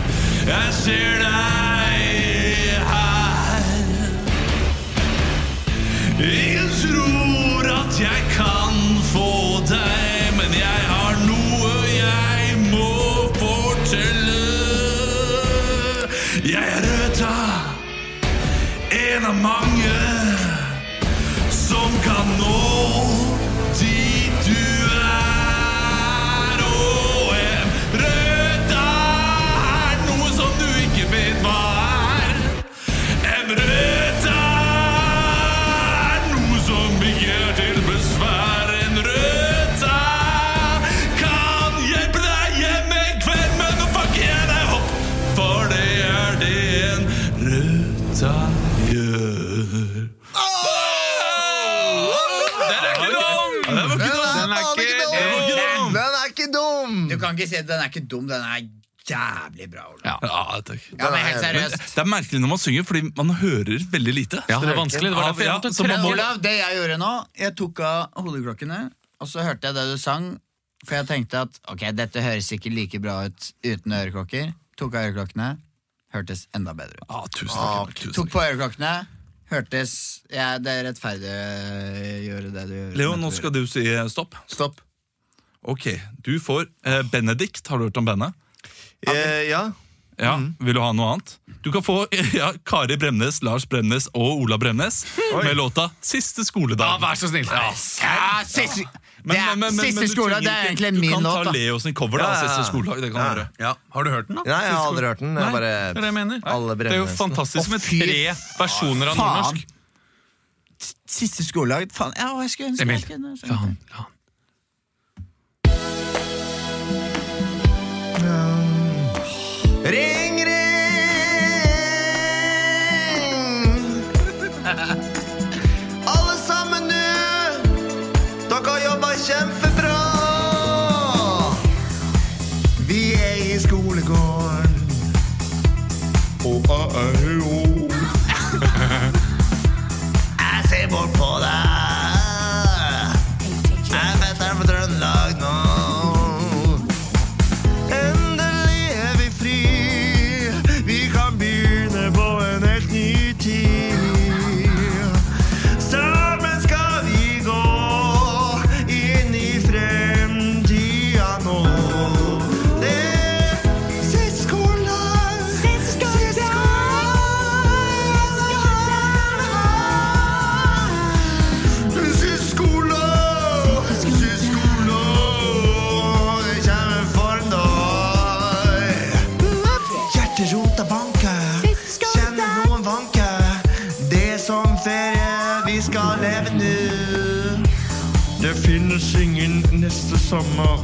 A: Jeg ser deg her. Ingen tror at jeg kan få deg, men jeg har noe jeg må fortelle. Jeg er Røta, en av mange som kan nå dit du er. Og en rød er noe som du ikke vet hva er. En rød er noe som ikke er til besvær. En rød kan hjelpe deg hjem en kveld, men nå fucker jeg deg opp, for det er det en rød gjør. Den er ikke dum! Den var ikke dum.
B: Den er ikke dum! Den er ikke dum!
D: Du kan ikke si at den er ikke dum. Den er jævlig bra. Olav.
A: Ja, takk.
D: Ja, men helt seriøst.
A: Det er merkelig når man synger, fordi man hører veldig lite.
C: Ja, det er vanskelig. Det var derfor jeg
A: Ja,
C: måtte
A: så man må-
C: prøve.
D: Olav, det jeg gjorde nå Jeg tok av hodeklokkene Og så hørte jeg det du sang For jeg tenkte at ok, dette høres ikke like bra ut Uten øreklokker Tok av øreklokkene Hørtes enda bedre ut
A: Ja, tusen takk. Emil, tusen
D: Tok
A: takk.
D: på øreklokkene Hørtes ja, Det er rettferdig å gjøre det du gjør
A: Leo, nå skal du si eh, stopp.
B: Stopp.
A: Ok, du får eh, Benedikt. Har du hørt om Benne?
B: Eh, ja.
A: Ja,
D: Mm.
A: Vil du ha noe annet? Du kan få ja, Kari Bremnes, Lars Bremnes og Ola Bremnes med låta 'Siste skoledag'.
C: Ja, vær så snill.
A: Ja.
D: ja, siste,
A: Men-
D: det er,
A: men- men- men-
D: siste
A: men du
D: skoledag,
A: trenger
D: det er
A: ikke-
D: egentlig min
A: Du
D: låt
A: kan ta
D: da
A: Leo sin cover, da.
B: Ja, ja, ja.
A: Siste skoledag. Det kan
B: Ja.
A: du gjøre.
C: Har du hørt den, da?
B: Nei, jeg har aldri hørt den. Jeg
C: Nei,
B: bare
C: det er det jeg mener.
B: Alle
C: Det er jo
B: Bremnesene.
C: fantastisk med
D: Å, fy
C: tre versjoner av
D: faen.
C: nordnorsk.
D: Siste skoledag, faen ja, jeg skulle ønske
C: Emil.
D: jeg kunne
C: La
D: synge det.
C: han, la han.
B: Ring, ring! Alle sammen nå! Dere har jobba kjempebra! Vi er i skolegården. Og au-au. Jeg ser bort på deg. Jeg er fetteren fra Trøndelag nå. Endelig er vi fri. Vi kan begynne på en helt ny tid. Sammen skal vi gå inn i fremtida nå. Det er siste skoledag. Siste skoledag. Siste skoledag. Siste skoledag. Det kommer for en dag. Hjerterota banker. Kjenner noen vanker. Det er som ferie, vi skal leve nå. Det finnes ingen neste sommer.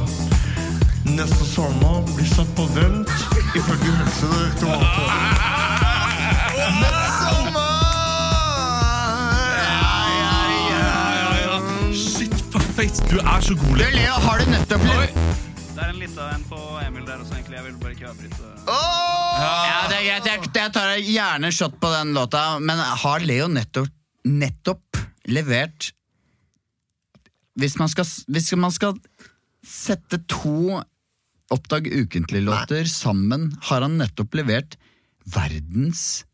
B: Neste sommer blir satt på vent, ifølge Helsedirektoratet. Neste sommer er jeg igjen.
A: Shit, fuckface. Du er så god, Leo.
D: Du Leo, har du nettopp
F: Det er en litt av en på Emil der også, egentlig. Jeg ville bare ikke avbryte.
D: Ja, det er greit. Jeg, jeg tar gjerne shot på den låta, men har Leo nettopp, nettopp levert hvis man, skal, hvis man skal sette to Oppdag ukentlig-låter sammen, har han nettopp levert verdens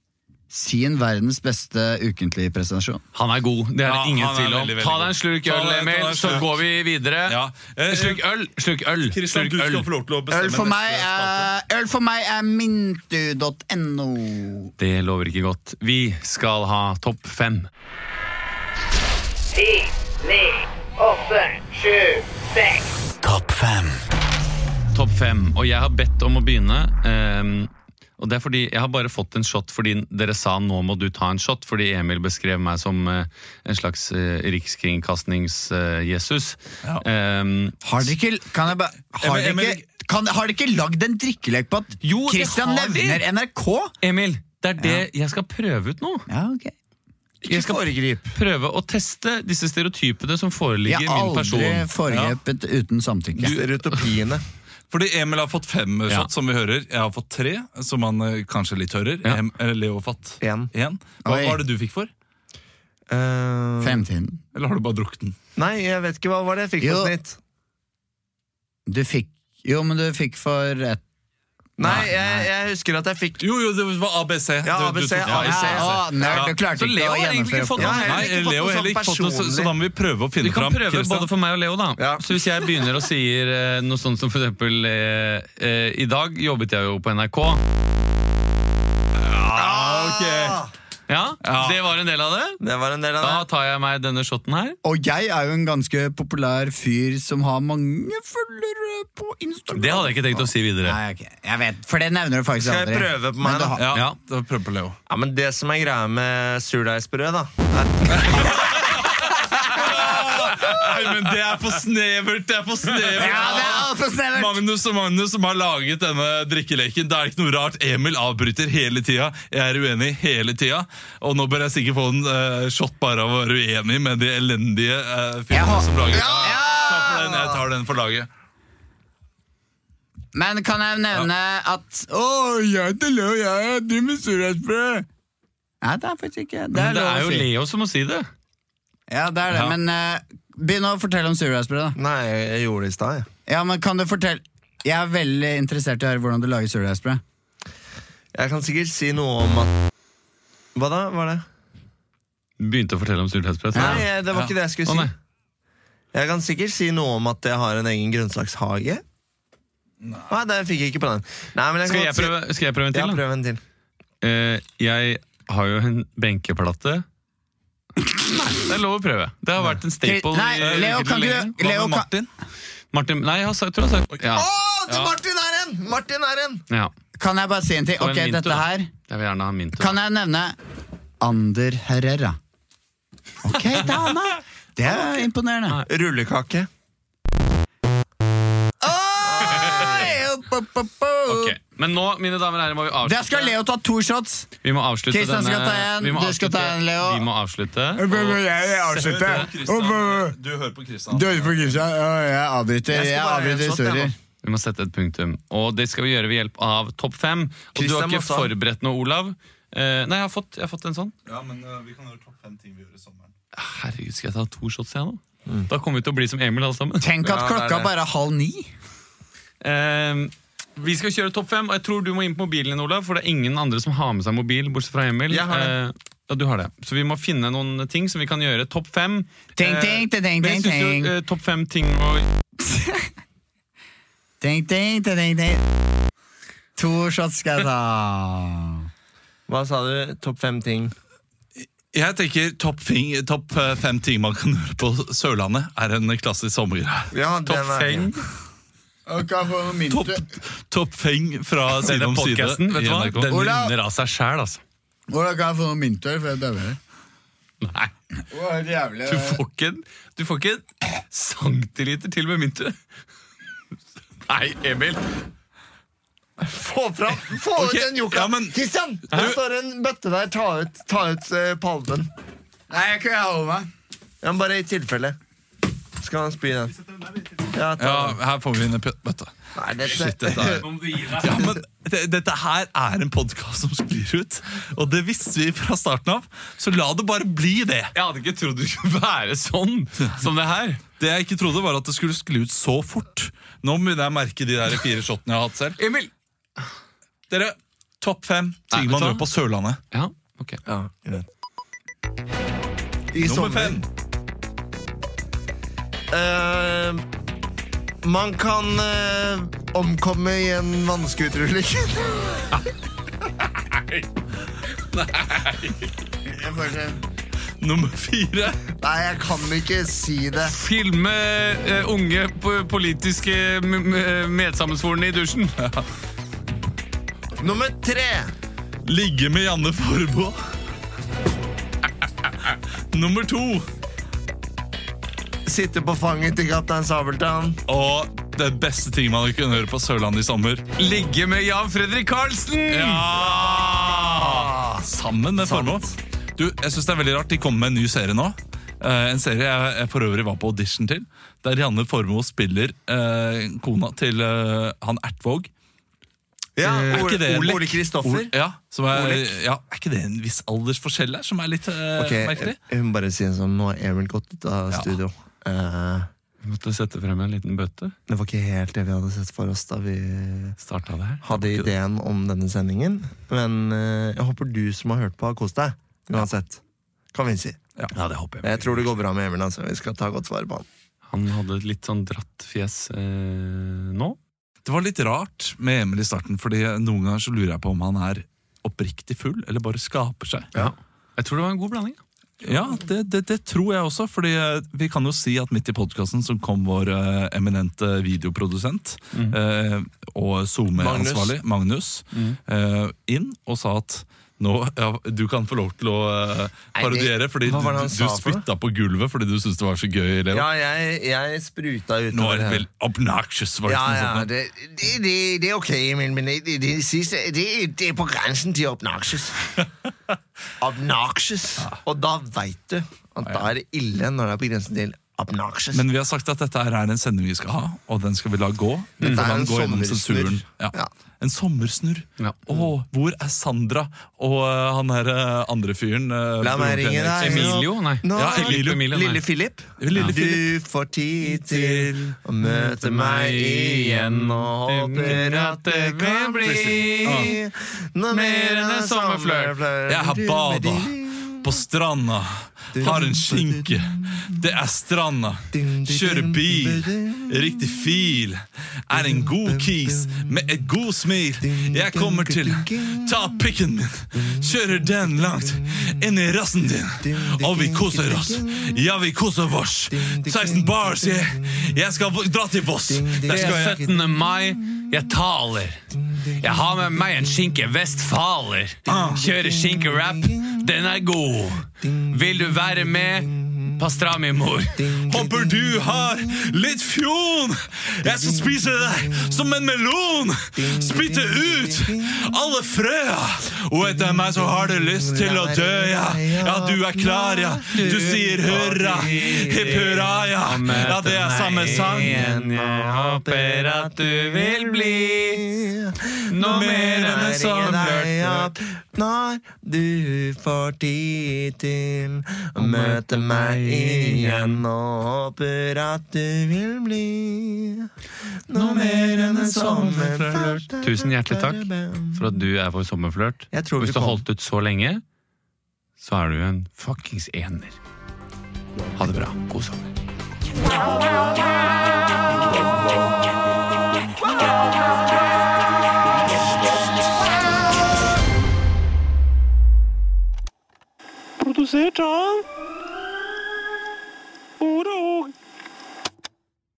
D: sin verdens beste ukentlige presentasjon.
C: Han er god, det er
A: Ja,
C: det ingen
A: han er
C: tvil om.
A: veldig, veldig
C: Ta
A: god.
C: deg en slurk
A: Ta
C: øl,
A: deg- ta deg
C: Emil,
A: en
C: så
A: slurk.
C: går vi videre.
A: Ja. Eh,
C: Slurk øl, slurk øl,
A: Kristian,
C: slurk
A: du skal
C: øl.
A: få lov til å bestemme.
D: Øl for meg
A: neste spalte.
D: er, øl for meg er mintu.no.
C: Det lover ikke godt. Vi skal ha topp fem.
H: ti, ni, åtte, sju, seks.
I: Topp fem.
C: Topp fem, og jeg har bedt om å begynne. ehm, og det er fordi Jeg har bare fått en shot fordi dere sa 'nå må du ta en shot', fordi Emil beskrev meg som eh, en slags eh, rikskringkastings-Jesus. Ehm,
D: Har de ikke, kan jeg ba, har
A: Emil-
D: de
A: Emil-
D: ikke kan, Har de ikke lagd en drikkelek på at
C: Jo, det
D: Christian
C: har de.
D: nevner NRK?
C: Emil, det er det jeg skal prøve ut nå.
D: Ja, ok
C: Jeg skal
D: foregrip.
C: prøve å teste disse stereotypene som foreligger
D: Jeg
C: i
D: har
C: min person.
D: aldri foregrepet uten samtykke.
B: Stereotypiene.
A: Fordi Emil har fått fem eh,
C: Ja.
A: shot, som vi hører. Jeg har fått tre, som han eh, kanskje litt hører.
C: Ja.
A: Em, eh, Leo har fått
B: En.
A: én. Hva
D: Oi.
A: var det du fikk for?
B: Eh,
D: Fremtiden.
A: Eller har du bare drukket den?
B: nei, jeg vet ikke hva var det jeg fikk
D: Jo.
B: på snitt.
D: Du fikk Jo, men du fikk for ett
B: Nei, jeg, jeg husker at jeg fikk
A: Jo, jo, det var ABC.
B: Ja,
A: Du- du
B: ABC,
A: tok- ja,
B: ABC.
A: ABC.
D: Å, Ah, nerd,
A: Ja.
D: du klarte
A: Så
D: ikke
A: Leo
D: å
A: har egentlig ikke
D: gjennomføre
A: fått
B: oppgaven.
A: noe.
B: Ja, jeg har
A: Nei,
B: ikke fått
A: Leo har
B: noe
A: heller ikke
B: sånn
A: fått noe, så, så da må vi prøve å
C: Du
A: finne
C: kan
A: fram.
C: prøve
A: Christian.
C: både for meg og Leo, da.
B: Ja.
C: Så hvis jeg begynner å si eh, noe sånt som for eksempel eh, eh, I dag jobbet jeg jo på NRK.
B: Ah,
C: Ja, det var en del av det.
B: Det var en del av
C: Da
B: det.
C: tar jeg meg denne shoten her.
D: Og jeg er jo en ganske populær fyr som har mange følgere på Instagram.
C: Det hadde jeg ikke tenkt å si videre.
D: Nei, ok. Jeg vet, for det nevner du faktisk
B: Skal jeg
D: aldri.
B: prøve på
D: Men
B: meg,
D: du
B: da?
D: har-
A: Ja, da prøver vi på Leo.
B: Ja, men det som er greia med surdeigsbrød, da
A: Nei, men det er for snevert! Det er for snevert!
D: Ja, det er altfor snevert!
A: Magnus og Magnus som har laget denne drikkeleken. Det er ikke noe rart. Emil avbryter hele tida. Jeg er uenig hele tida. Og nå bør jeg sikkert få en eh, shot bare av å være uenig med de elendige uh, filmene som lager ja! Takk for den. Jeg tar den for laget.
D: Men kan jeg nevne at Å, jeg heter Leo, jeg driver med surhetsbrød. Nei, det er faktisk ikke Det
C: Men
D: er,
C: det er
D: lov
C: jo
D: å si.
C: Leo som må si det.
D: Ja, det er det,
A: Ja.
D: men eh, begynn å fortelle om surhetsbrød, da.
B: Nei, jeg, jeg gjorde det i stad, jeg.
D: Ja, men kan du fortelle Jeg er veldig interessert i å høre hvordan du lager surhetsbrød.
B: Jeg kan sikkert si noe om at Hva da? Var det?
C: Begynte å fortelle om surdeigsprat.
B: Nei, jeg- det var ikke det jeg
C: Å,
B: skulle
C: nei.
B: si. Jeg kan sikkert si noe om at jeg har en egen grønnsakshage. Nei, det fikk jeg ikke på den. Nei, men jeg
C: Skal
B: kan
C: jeg prøve, skal jeg prøve en
B: Si... Ja,
C: til? da?
B: prøv en til.
C: Eh, jeg har jo en benkeplate. Nei, det er lov å prøve. Det har vært en staple.
D: Nei,
C: i-
D: Leo, kan ikke
C: lenge.
D: du Leo, kan,
C: Martin, nei, jeg har sagt, tror jeg har sagt ja,
B: Å, det- Martin er en! Martin er en!
C: ja,
D: kan jeg bare si en ting?
C: Få en
D: Ok,
C: minto,
D: dette
C: da.
D: her
C: jeg vil gjerne ha min tur.
D: Kan jeg nevne Ander Herrera? Ok, dama! Det er imponerende.
B: Rullekake.
C: Ok, Men nå, mine damer og herrer, må vi avslutte.
D: Der skal Leo ta to shots!
C: Vi må avslutte
D: Kristian skal
C: denne-
D: ta en,
C: vi må
D: du skal ta
C: avslutte-
D: en, Leo.
C: Vi må avslutte.
D: Jeg avslutter.
A: du hører på Kristian.
D: Døde på Grimstad. Jeg avbryter,
B: Jeg skal
D: sånn, jeg
B: bare ha en
D: avbryter
B: shot, jeg,
D: historier.
B: nå.
C: Vi må sette et punktum. Og det skal vi gjøre ved hjelp av Topp fem. Og du har
B: Kristian
C: ikke
B: må ta den.
C: forberedt noe, Olav. Eh, nei, jeg har, fått, jeg har fått en sånn.
A: Ja, men eh, vi kan gjøre topp fem ting vi gjør i sommeren.
C: Herregud, skal jeg ta to shots, jeg nå? Da kommer vi til å bli som Emil, alle sammen.
D: Mm. Tenk at
B: Ja, det er
D: klokka
B: det.
D: bare er halv ni.
C: Eh, vi skal kjøre topp fem, og jeg tror du må inn på mobilen din, Olav. For det er ingen andre som har med seg mobil, bortsett fra Emil.
B: Jeg har
C: Eh, ja, du har det. Så vi må finne noen ting som vi kan gjøre. Topp fem.
D: Ting,
C: Eh,
D: ting, ting, ting,
C: men jeg
D: ting,
C: synes jo,
D: ting.
C: eh, Topp fem ting å
D: Ting, ting, ting, ting, ting. To shots skal jeg ta.
B: Hva sa du? Topp fem ting.
A: Jeg tenker topp fing- topp, eh, fem ting man kan gjøre på Sørlandet, er en klassisk sommergreie.
B: Ja,
A: Topp feng, topp, topp feng fra side om side.
C: podcasten, vet
A: i
C: du hva?
A: NRK.
C: Den
D: Olav!
C: nynner av seg sjæl, altså.
D: Hvordan kan jeg få noe myntøy før jeg døver?
C: Nei, du får ikke en, du får ikke en centiliter til med mynte. Nei, Emil.
B: Få fram Få
A: Ok,
B: ut den jokeren!
A: ja, men-
B: Kristian! Det står en bøtte der. Ta ut, ta ut eh, palmen.
D: Nei, jeg kan holde meg.
B: Ja, men bare i tilfelle. Skal han spy den? Ja, ta-
A: Ja, her får vi inn en pø- bøtte.
B: Nei, dette-
A: Shit, dette er ja, men det, Dette her er en podkast som sklir ut, og det visste vi fra starten av. Så la det bare bli det.
C: Jeg hadde ikke trodd det skulle være sånn som det her.
A: Det jeg ikke trodde, var at det skulle skli ut så fort. Nå begynner jeg å merke de der fire shotene jeg har hatt selv.
C: Emil!
A: Dere, Topp fem
C: Nei,
A: ting
C: vet
A: man
C: du
A: gjør
C: hva?
A: på Sørlandet.
C: Ja, ok.
B: Ja, greit. I
A: Nummer
B: sommer.
A: fem.
B: Eh, man kan eh, omkomme i en vannskuterulykke. Jeg får se.
A: Nummer fire.
B: Nei, jeg kan ikke si det.
C: Filme eh, unge p- politiske m- m- medsammensvorne i dusjen.
B: Nummer tre.
A: Ligge med Janne Formoe. Nummer to.
B: Sitte på fanget til kaptein Sabeltann.
A: Og det beste ting man kunne høre på Sørlandet i sommer.
C: Ligge med Jan Fredrik Karlsen!
A: Ja! Sammen med Formoe. Du, jeg synes det er veldig rart. De kommer med en ny serie nå. Eh, en serie jeg, jeg for øvrig var på audition til. Der Janne Formoe spiller eh, kona til eh, han Ertvåg.
B: Ja,
A: Er ikke det en-
B: Ole Kristoffer.
A: Ol- Ja, som er,
B: Olek.
A: ja, er ikke det en viss aldersforskjell der som er litt eh,
B: Ok,
A: merkelig?
B: jeg må bare si en sånn, nå er Emil gått ut av
A: Ja.
B: studio. Eh,
C: Vi måtte sette frem en liten bøtte.
B: det var ikke helt det vi hadde sett for oss da vi
C: Starta det her.
B: hadde ideen om denne sendingen. Men eh, jeg håper du som har hørt på, har kost deg. Uansett. Kan vi si.
C: Ja, det håper
B: Jeg tror det går bra med Emil. Altså. Vi skal ta godt vare på han.
C: Han hadde et litt sånn dratt fjes eh, nå.
A: Det var litt rart med Emil i starten, Fordi noen ganger så lurer jeg på om han er oppriktig full, eller bare skaper seg.
C: Jeg tror det var en god blanding.
A: Ja, det, det, det tror jeg også, Fordi eh, vi kan jo si at midt i podkasten så kom vår eh, eminente videoprodusent eh, og SoMe-ansvarlig, Magnus, eh, inn og sa at nå, ja, du kan få lov til å eh, parodiere, fordi du,
B: hva var det han
A: du
B: sa for noe?
A: spytta på gulvet fordi du syntes det var så gøy. Leo.
B: Ja, jeg, jeg spruta ut
A: Nå er det vel obnoxious, var det
B: Ja,
A: ikke noe
B: ja,
A: sånt?
B: det, det, det, det er ok, Emil, men det, det, det siste det, det er på grensen til obnoxious. Obnoxious. Og da veit du at da er det ille når det er på grensen til obnoxious.
A: Men vi har sagt at dette her er en sending vi skal ha, og den skal vi la gå.
B: Dette
A: For
B: er
A: den
B: en
A: går gjennom
B: sommersnurr.
A: sensuren. Ja.
B: Ja.
A: En sommersnurr.
C: Ja.
A: Åh, hvor er Sandra og eh, han her eh, andre fyren? eh,
B: La
A: broren
B: meg
A: til
B: ringe
A: Henrik?
B: deg.
C: Emilio, nei.
B: Nå,
A: Ja,
C: Philip
A: Emilio.
C: Emilie, nei.
B: Lille Philip.
A: Lille Philip.
B: Du får tid til å møte meg igjen og håper at det kan bli noe mer enn en sommerflørt.
A: Jeg har bada på stranda. Har en skinke. Det er stranda. Kjører bil. Riktig fil. Er en god kis med et god smil. Jeg kommer til ta pikken min. Kjører den langt inn i rassen din. Og vi koser oss. Ja, vi koser oss. 16 bars, jeg. Jeg skal dra til Voss. Der
C: Det
A: skal jeg
C: er 17. mai. Jeg taler. Jeg har med meg en skinke vestfaler. Kjører skinkerap. Den er god. Vil du være med? Pastrami, mor.
A: Håper du har litt fjon. Jeg skal spise deg som en melon. Spytte ut alle frøa. Og etter meg så har du lyst til å dø, ja. Ja, du er klar, ja. Du sier hurra, hipp hurra, ja. Ja, det er samme sang.
C: Jeg håper at du vil bli noe mer enn en sommerflørt.
B: Når du får tid til å møte meg igjen og håper at du vil bli noe mer enn en sommerflørt.
C: Tusen hjertelig takk for at du er vår sommerflørt.
B: Jeg tror vi
C: Hvis du har
B: kom.
C: holdt ut så lenge, så er du en fuckings ener. Ha det bra. God sommer.
J: Produsert av Ore og